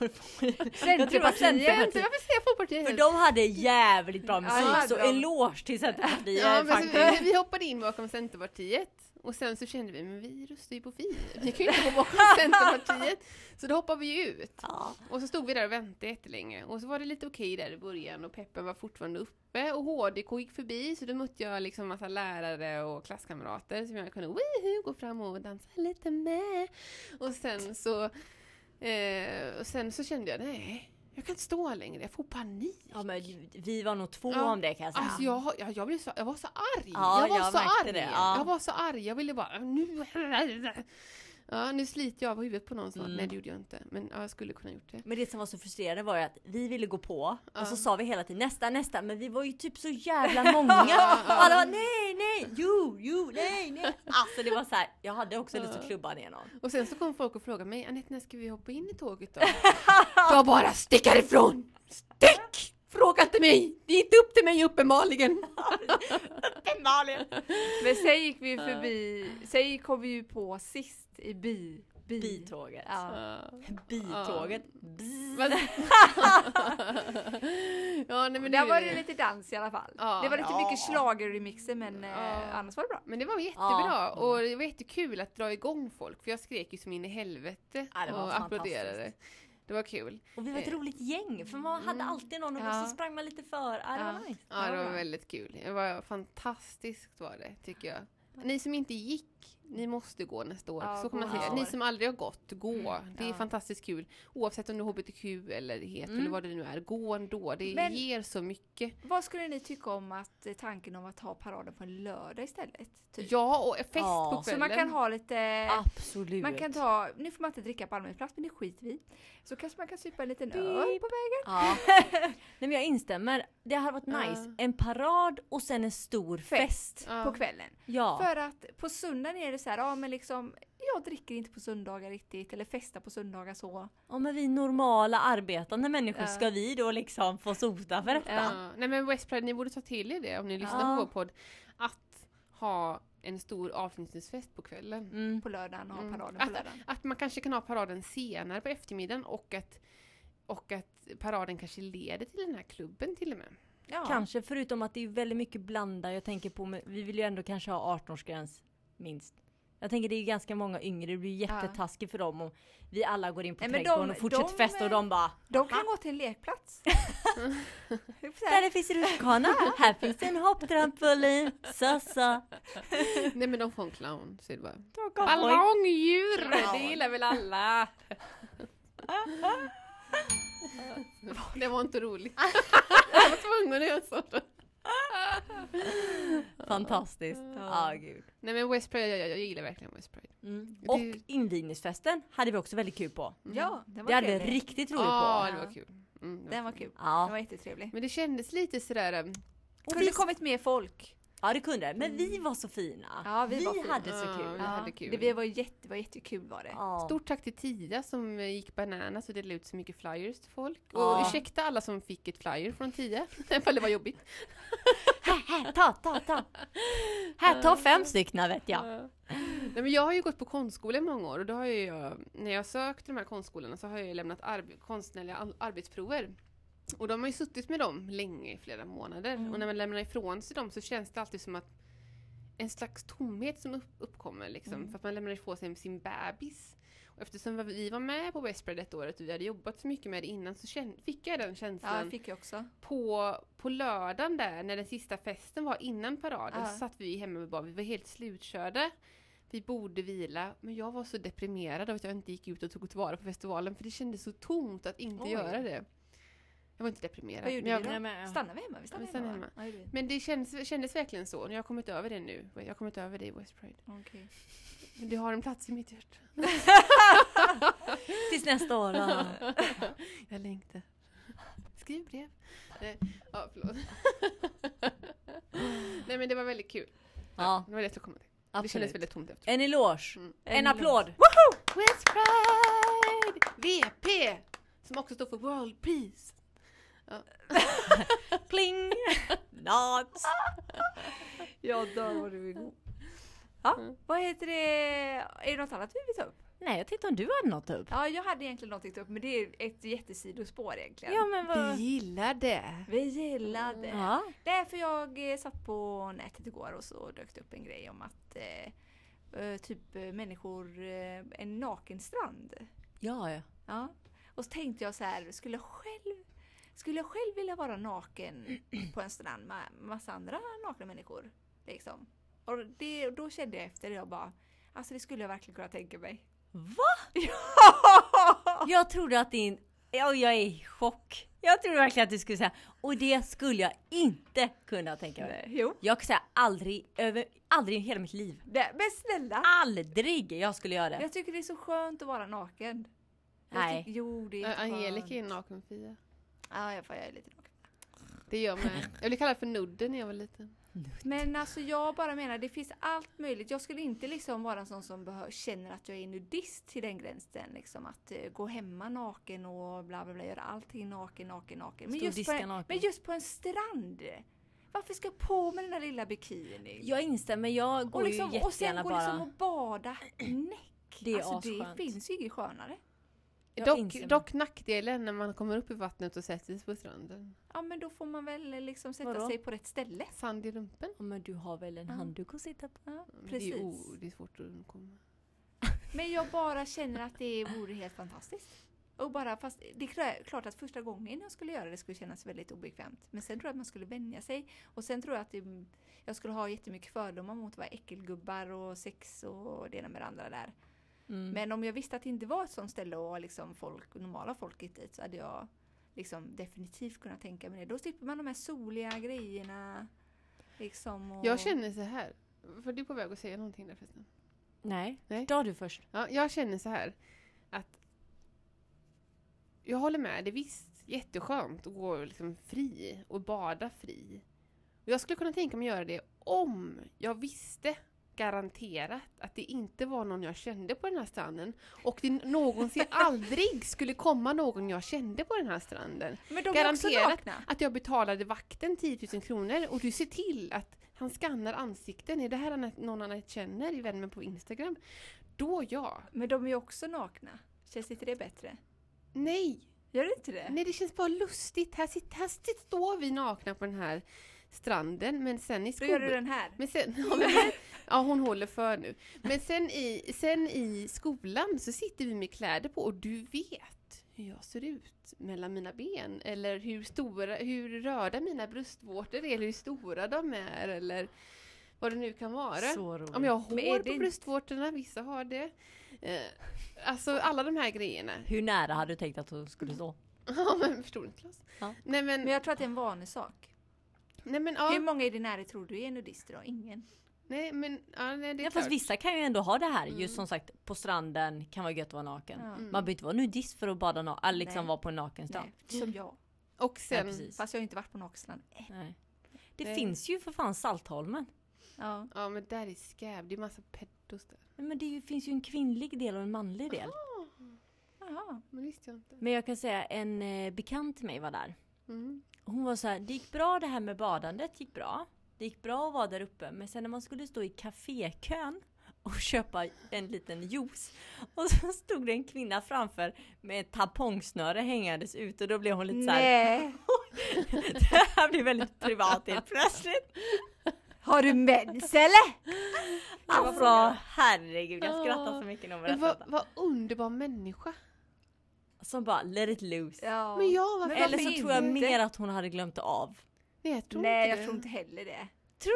[SPEAKER 3] Jag tror att
[SPEAKER 5] Centerpartiet!
[SPEAKER 3] Centerpartiet.
[SPEAKER 5] Varför säger jag Folkpartiet?
[SPEAKER 3] För de hade jävligt bra musik,
[SPEAKER 5] hade
[SPEAKER 3] så
[SPEAKER 5] de.
[SPEAKER 3] eloge till Centerpartiet
[SPEAKER 5] ja, men så
[SPEAKER 3] faktiskt.
[SPEAKER 5] vi, vi hoppade in bakom Centerpartiet. Och sen så kände vi, men vi röstar ju på FI. Vi kan ju inte gå bakom Centerpartiet. Så då hoppade vi ju ut.
[SPEAKER 3] Ja.
[SPEAKER 5] Och så stod vi där och väntade jättelänge. Och så var det lite okej där i början och peppen var fortfarande uppe. Och HDK gick förbi så då mötte jag liksom massa lärare och klasskamrater som jag kunde wihu, gå fram och dansa lite med. Och sen så, eh, och sen så kände jag nej, jag kan inte stå längre, jag får panik.
[SPEAKER 3] ja, men vi var nog två
[SPEAKER 5] Ja.
[SPEAKER 3] om det kan jag säga.
[SPEAKER 5] Alltså jag, har- jag, jag, blev så, jag var så arg!
[SPEAKER 3] Ja,
[SPEAKER 5] jag var
[SPEAKER 3] jag
[SPEAKER 5] så
[SPEAKER 3] märkte
[SPEAKER 5] arg!
[SPEAKER 3] det, ja.
[SPEAKER 5] Jag var så arg, jag ville bara nu... Ja, nu sliter jag av huvudet på någon snart.
[SPEAKER 3] Mm.
[SPEAKER 5] Nej det gjorde jag inte, men ja, jag skulle kunna gjort det.
[SPEAKER 3] Men det som var så frustrerande var ju att vi ville gå på
[SPEAKER 5] Ja.
[SPEAKER 3] och så sa vi hela tiden nästa, nästa, men vi var ju typ så jävla många.
[SPEAKER 5] Ja.
[SPEAKER 3] Och alla var nej, nej, jo, jo, nej, nej. Alltså det var så här, jag hade också lust att
[SPEAKER 5] Ja.
[SPEAKER 3] klubba ner någon.
[SPEAKER 5] Och sen så kom folk och frågade mig, Anette när ska vi hoppa in i tåget då? jag bara stick härifrån! Stick! Fråga inte mig! Det är inte upp till mig uppenbarligen!
[SPEAKER 3] Malin!
[SPEAKER 4] Men sen gick vi ju förbi, sen kom vi ju på sist i bi. bi.
[SPEAKER 3] Bitåget.
[SPEAKER 4] Ja.
[SPEAKER 3] Bitåget. Bzzz.
[SPEAKER 5] Men- ja, nej, men
[SPEAKER 4] Där
[SPEAKER 5] det,
[SPEAKER 4] var det lite dans i alla fall.
[SPEAKER 5] Ja.
[SPEAKER 4] det var lite
[SPEAKER 3] Ja.
[SPEAKER 4] mycket schlager i mixen men
[SPEAKER 5] Ja.
[SPEAKER 4] eh, annars var det bra.
[SPEAKER 5] Men det var jättebra och det var jättekul att dra igång folk för jag skrek ju som in i helvete
[SPEAKER 3] Ja, det var
[SPEAKER 5] och
[SPEAKER 3] fantastiskt.
[SPEAKER 5] applåderade. Det var kul.
[SPEAKER 3] Och vi var ett roligt gäng för man hade alltid någon och
[SPEAKER 5] Mm. Ja.
[SPEAKER 3] så sprang man lite för. Ja, det var
[SPEAKER 4] Ja.
[SPEAKER 3] nice.
[SPEAKER 5] Ja, det var
[SPEAKER 4] bra.
[SPEAKER 5] väldigt kul. Det var fantastiskt var det, tycker jag. Ni som inte gick, ni måste gå nästa år.
[SPEAKER 4] Ja,
[SPEAKER 5] så kan man
[SPEAKER 3] gå
[SPEAKER 5] säga.
[SPEAKER 3] nästa år.
[SPEAKER 5] Ni som aldrig har gått, gå. Det är
[SPEAKER 4] ja.
[SPEAKER 5] fantastiskt kul. Oavsett om du är hbtq eller het
[SPEAKER 3] Mm.
[SPEAKER 5] eller vad det nu är. Gå ändå. Det
[SPEAKER 4] Men-
[SPEAKER 5] ger så mycket.
[SPEAKER 4] Vad skulle ni tycka om att eh, tanken om att ha paraden på en lördag istället? Typ?
[SPEAKER 5] Ja, och fest
[SPEAKER 3] Ja.
[SPEAKER 5] på kvällen.
[SPEAKER 4] Så man kan ha lite...
[SPEAKER 3] Ah, Absolut.
[SPEAKER 4] Man kan ta, nu får man inte dricka på allmän plats men det skiter vi i. Så kanske man kan supa en liten öl på vägen.
[SPEAKER 3] Ja. Nej men jag instämmer. Det hade varit
[SPEAKER 5] Ja.
[SPEAKER 3] nice. En parad och sen en stor fest.
[SPEAKER 5] Ja.
[SPEAKER 4] På kvällen.
[SPEAKER 3] Ja.
[SPEAKER 4] För att på söndagen är det så här, ja men liksom jag dricker inte på söndagar riktigt eller festar på söndagar så.
[SPEAKER 3] ja men vi normala arbetande människor,
[SPEAKER 4] Ja.
[SPEAKER 3] ska vi då liksom få sota för detta?
[SPEAKER 5] Ja. Nej men West Pride, ni borde ta till er det om ni lyssnar
[SPEAKER 3] Ja.
[SPEAKER 5] på vår podd. Att ha en stor avslutningsfest på kvällen.
[SPEAKER 3] Mm.
[SPEAKER 4] På lördagen och
[SPEAKER 5] Mm.
[SPEAKER 4] paraden på
[SPEAKER 5] Att-
[SPEAKER 4] lördagen.
[SPEAKER 5] Att man kanske kan ha paraden senare på eftermiddagen och att, och att paraden kanske leder till den här klubben till och med.
[SPEAKER 4] Ja.
[SPEAKER 3] Kanske förutom att det är väldigt mycket blanda. Jag tänker på, men vi vill ju ändå kanske ha 18-årsgräns minst. Jag tänker det är ju ganska många yngre, det blir ju
[SPEAKER 4] Ja.
[SPEAKER 3] jättetaskigt för dem om vi alla går in på
[SPEAKER 4] Nej, men
[SPEAKER 3] trädgården
[SPEAKER 4] de-
[SPEAKER 3] och fortsätter
[SPEAKER 4] de-
[SPEAKER 3] festa och de bara
[SPEAKER 4] De kan gå till en lekplats. Det är så
[SPEAKER 3] Där
[SPEAKER 4] här,
[SPEAKER 3] det finns rutschkana, här finns en hopptrampolin, så så.
[SPEAKER 5] Nej men de får en clown, så är det bara.
[SPEAKER 3] De kom på-
[SPEAKER 5] Ballongdjur! Det
[SPEAKER 3] Clown.
[SPEAKER 5] gillar väl alla? det var inte roligt. jag var tvungen att göra så.
[SPEAKER 3] Fantastiskt. Ja, gud.
[SPEAKER 5] Nej men West Pride, jag, jag, jag gillar verkligen West Pride.
[SPEAKER 3] Mm.
[SPEAKER 5] Det-
[SPEAKER 3] Och invigningsfesten hade vi också väldigt kul på.
[SPEAKER 4] Ja, det var
[SPEAKER 3] Det hade vi
[SPEAKER 4] trevligt.
[SPEAKER 3] riktigt roligt
[SPEAKER 5] Ja,
[SPEAKER 3] på.
[SPEAKER 5] det var kul. Mm,
[SPEAKER 4] Den var kul. Den
[SPEAKER 3] Ja.
[SPEAKER 4] var jättetrevlig.
[SPEAKER 5] Men det kändes lite sådär... um,
[SPEAKER 3] Och
[SPEAKER 4] Kunde
[SPEAKER 3] vi,
[SPEAKER 4] det kommit mer folk?
[SPEAKER 3] ja det kunde Men vi var så fina.
[SPEAKER 4] Ja, vi var fina.
[SPEAKER 3] hade så
[SPEAKER 5] Ja,
[SPEAKER 3] kul.
[SPEAKER 5] vi hade kul.
[SPEAKER 4] Det, vi var jätte, det var jättekul var det.
[SPEAKER 3] Ja.
[SPEAKER 5] Stort tack till Tia som eh, gick bananas och delade ut så mycket flyers till folk. Och
[SPEAKER 3] Ja.
[SPEAKER 5] ursäkta alla som fick ett flyer från Tia, ifall det var jobbigt.
[SPEAKER 3] Här, här, ta, ta, ta. Här, ta fem stycken vet jag.
[SPEAKER 5] Eh, Nej, men jag har ju gått på konstskola i många år och då har ju jag, när jag sökt de här konstskolorna så har jag ju lämnat arb- konstnärliga al- arbetsprover. Och de har ju suttit med dem länge, i flera månader. Och när man lämnar ifrån sig dem så känns det alltid som att en slags tomhet som upp- uppkommer liksom. För att man lämnar ifrån sig sin bebis. Och eftersom vi var med på Westbred ett året och vi hade jobbat så mycket med det innan så känn- fick jag den
[SPEAKER 4] Ja,
[SPEAKER 5] känslan
[SPEAKER 4] det fick jag också.
[SPEAKER 5] på, på lördagen där, när den sista festen var innan paraden,
[SPEAKER 4] Ja.
[SPEAKER 5] så satt vi hemma med barn. Vi var helt slutkörda. Vi borde vila, men jag var så deprimerad av att jag inte gick ut och tog tillvara på festivalen för det kändes så tomt att inte
[SPEAKER 4] Oj.
[SPEAKER 5] göra det. Jag var inte deprimerad.
[SPEAKER 4] Vad gjorde
[SPEAKER 5] men jag,
[SPEAKER 4] vi då?
[SPEAKER 3] Nej, men-
[SPEAKER 4] Stannade vi hemma? Vi stannade
[SPEAKER 5] Vi stannade
[SPEAKER 4] hemma. va? Ja, det gjorde
[SPEAKER 5] men det kändes, kändes verkligen så. Jag har kommit över det nu. Jag har kommit över det i West Pride.
[SPEAKER 4] vi. Okej.
[SPEAKER 5] Men det har en plats i mitt hjärta.
[SPEAKER 3] Tills nästa år. ja.
[SPEAKER 5] Jag längtar. Skriv brev. Nej, ja, förlåt. Nej men det var väldigt kul.
[SPEAKER 3] Ja,
[SPEAKER 5] Det var lätt att komma till. Det kändes
[SPEAKER 3] absolut.
[SPEAKER 5] väldigt tomt efter.
[SPEAKER 3] En eloge.
[SPEAKER 5] Mm.
[SPEAKER 3] En applåd.
[SPEAKER 5] West Pride! VP! Som också står för World Peace.
[SPEAKER 3] Pling! Not.
[SPEAKER 4] Jag dör vad du är god. Ja, vad heter det? Är det något annat vi vill ta upp?
[SPEAKER 3] Nej, jag tänkte om du hade något upp.
[SPEAKER 4] Ja, jag hade egentligen någonting att ta upp men det är ett jättesidospår egentligen.
[SPEAKER 3] Ja, men vad...
[SPEAKER 5] gillar det.
[SPEAKER 4] Vi gillade.
[SPEAKER 3] Ja.
[SPEAKER 4] Därför jag eh, satt på nätet igår och så dök det upp en grej om att eh, eh, typ eh, människor, eh, en naken strand.
[SPEAKER 3] Ja, ja.
[SPEAKER 4] Ja. Och så tänkte jag så här, skulle jag själv, skulle jag själv vilja vara naken på en strand med massa andra nakna människor? Liksom. Och det, då kände jag efter det, jag bara, alltså det skulle jag verkligen kunna tänka mig.
[SPEAKER 3] Va? Jag trodde att din... Ja, jag är i chock. Jag trodde verkligen att du skulle säga... Och det skulle jag inte kunna tänka mig.
[SPEAKER 4] Nej, jo.
[SPEAKER 3] Jag kan säga aldrig, över, aldrig i hela mitt liv.
[SPEAKER 4] Det, men snälla!
[SPEAKER 3] Aldrig jag skulle göra det.
[SPEAKER 4] Jag tycker det är så skönt att vara naken. Jag
[SPEAKER 3] Ah. Nej.
[SPEAKER 4] tycker- jo, det är jätteskönt.
[SPEAKER 5] Angelica är en nakenfia.
[SPEAKER 4] Ja, jag, får, jag är lite naken.
[SPEAKER 5] Det gör man. Jag blev kallad för nudden när jag var liten.
[SPEAKER 4] Men alltså jag bara menar, det finns allt möjligt. Jag skulle inte liksom vara en sån som behö- känner att jag är nudist till den gränsen. Liksom att eh, gå hemma naken och bla bla bla, göra allting naken, naken, naken. Men
[SPEAKER 3] Stå och
[SPEAKER 4] just, på
[SPEAKER 3] diska
[SPEAKER 4] en,
[SPEAKER 3] naken.
[SPEAKER 4] men just på en strand! Varför ska jag på med den där lilla bikinin?
[SPEAKER 3] Jag instämmer, jag går
[SPEAKER 4] och, liksom,
[SPEAKER 3] ju
[SPEAKER 4] och sen
[SPEAKER 3] jättegärna
[SPEAKER 4] gå
[SPEAKER 3] bara...
[SPEAKER 4] liksom och bada näck!
[SPEAKER 3] Det är
[SPEAKER 4] alltså det
[SPEAKER 3] asskönt.
[SPEAKER 4] finns ju inget skönare.
[SPEAKER 3] Jag instämmer.
[SPEAKER 5] Dock, dock nackdelen när man kommer upp i vattnet och sätter sig på stranden.
[SPEAKER 4] Ja men då får man väl liksom sätta
[SPEAKER 3] Vadå?
[SPEAKER 4] sig på rätt ställe.
[SPEAKER 5] Sand i rumpen.
[SPEAKER 3] Ja, men du har väl en handduk att sitta på?
[SPEAKER 4] Ja,
[SPEAKER 5] Men Det
[SPEAKER 4] precis.
[SPEAKER 5] är, o- det är svårt att undkomma.
[SPEAKER 4] Men jag bara känner att det vore helt fantastiskt. Och bara, fast det är klä- klart att första gången jag skulle göra det skulle kännas väldigt obekvämt. Men sen tror jag att man skulle vänja sig. Och sen tror jag att det, jag skulle ha jättemycket fördomar mot vad äckelgubbar och sex och det ena med det andra där.
[SPEAKER 3] Mm.
[SPEAKER 4] Men om jag visste att det inte var ett sånt ställe och liksom folk, normala folk gick dit så hade jag liksom definitivt kunnat tänka mig det. Då slipper man de här soliga grejerna. Liksom och...
[SPEAKER 5] Jag känner så här. För du är på väg att säga någonting där förresten.
[SPEAKER 3] Nej.
[SPEAKER 5] Nej.
[SPEAKER 3] Ta du först.
[SPEAKER 5] Ja, jag känner så här att jag håller med, det är visst jätteskönt att gå liksom fri och bada fri. Och jag skulle kunna tänka mig att göra det om jag visste garanterat att det inte var någon jag kände på den här stranden och det någonsin aldrig skulle komma någon jag kände på den här stranden.
[SPEAKER 4] Men de är också
[SPEAKER 5] Garanterat
[SPEAKER 4] nakna.
[SPEAKER 5] att jag betalade vakten 10 000 kronor och du ser till att han skannar ansikten. Är det här Anette- någon Anette känner i Vän med på Instagram? Då ja.
[SPEAKER 4] Men de är ju också nakna. Känns inte det bättre?
[SPEAKER 5] Nej!
[SPEAKER 4] Gör det inte det?
[SPEAKER 5] Nej, det känns bara lustigt. Här, sit, här sit, står vi nakna på den här stranden, men sen i
[SPEAKER 4] Då gör du
[SPEAKER 5] skolan...
[SPEAKER 4] den här.
[SPEAKER 5] Men sen, ja, men, ja, hon håller för nu. Men sen i, sen i skolan så sitter vi med kläder på och du vet hur jag ser ut mellan mina ben. Eller hur, stora, hur röda mina bröstvårtor är, eller hur stora de är, eller vad det nu kan vara.
[SPEAKER 3] Så roligt.
[SPEAKER 5] Om jag har
[SPEAKER 4] Men är
[SPEAKER 5] hår
[SPEAKER 4] det
[SPEAKER 5] på
[SPEAKER 4] inte-
[SPEAKER 5] bröstvårtorna, vissa har det. Eh, alltså alla de här grejerna.
[SPEAKER 3] Hur nära hade du tänkt att du skulle stå?
[SPEAKER 5] Ja, men förstår du inte Klas?
[SPEAKER 3] Ja.
[SPEAKER 5] Nej men,
[SPEAKER 4] Men jag tror att det är en vanesak.
[SPEAKER 5] nej men
[SPEAKER 4] Hur
[SPEAKER 5] ja.
[SPEAKER 4] många i din närhet tror du är nudister då? Ingen.
[SPEAKER 5] Nej men, ja, nej, det är
[SPEAKER 3] Ja,
[SPEAKER 5] klart.
[SPEAKER 3] fast vissa kan ju ändå ha det här. Just som sagt på stranden kan vara gött att vara naken.
[SPEAKER 4] Ja.
[SPEAKER 5] Mm.
[SPEAKER 3] Man behöver inte vara nudist för att bada na- eller liksom
[SPEAKER 4] Nej.
[SPEAKER 3] vara på en naken strand.
[SPEAKER 4] Nej, som jag.
[SPEAKER 5] Och sen,
[SPEAKER 3] Nej, precis.
[SPEAKER 4] Fast jag har inte varit på Noxland.
[SPEAKER 3] Nej. Det
[SPEAKER 5] Nej.
[SPEAKER 3] finns ju för fan Saltholmen.
[SPEAKER 4] Ja.
[SPEAKER 5] ja men där är skäv, det är massa pedos där.
[SPEAKER 3] Nej, Men det är ju, finns ju en kvinnlig del och en manlig del.
[SPEAKER 4] Jaha.
[SPEAKER 5] Men visste jag inte.
[SPEAKER 3] Men jag kan säga en eh, bekant till mig var där.
[SPEAKER 5] Mm.
[SPEAKER 3] Hon var så här, det gick bra det här med badandet gick bra. Det gick bra att vara där uppe men sen när man skulle stå i kafékön och köpa en liten juice och så stod det en kvinna framför med ett tampongsnöre hängandes ut och då blev hon lite så här.
[SPEAKER 4] Nej.
[SPEAKER 3] det här blir väldigt privat helt plötsligt.
[SPEAKER 4] Har du mens eller?
[SPEAKER 3] Alltså herregud jag skrattar
[SPEAKER 5] Ja.
[SPEAKER 3] så mycket när hon
[SPEAKER 5] Men
[SPEAKER 3] berättar
[SPEAKER 5] vad,
[SPEAKER 3] detta.
[SPEAKER 5] vad underbar människa.
[SPEAKER 3] Som bara let it loose.
[SPEAKER 4] Ja.
[SPEAKER 5] Men jag, varför
[SPEAKER 3] Eller så
[SPEAKER 4] varför
[SPEAKER 3] tror jag
[SPEAKER 4] inte?
[SPEAKER 3] mer att hon hade glömt av.
[SPEAKER 5] Nej jag tror
[SPEAKER 4] Nej,
[SPEAKER 5] inte
[SPEAKER 4] jag
[SPEAKER 5] det.
[SPEAKER 4] tror inte heller det.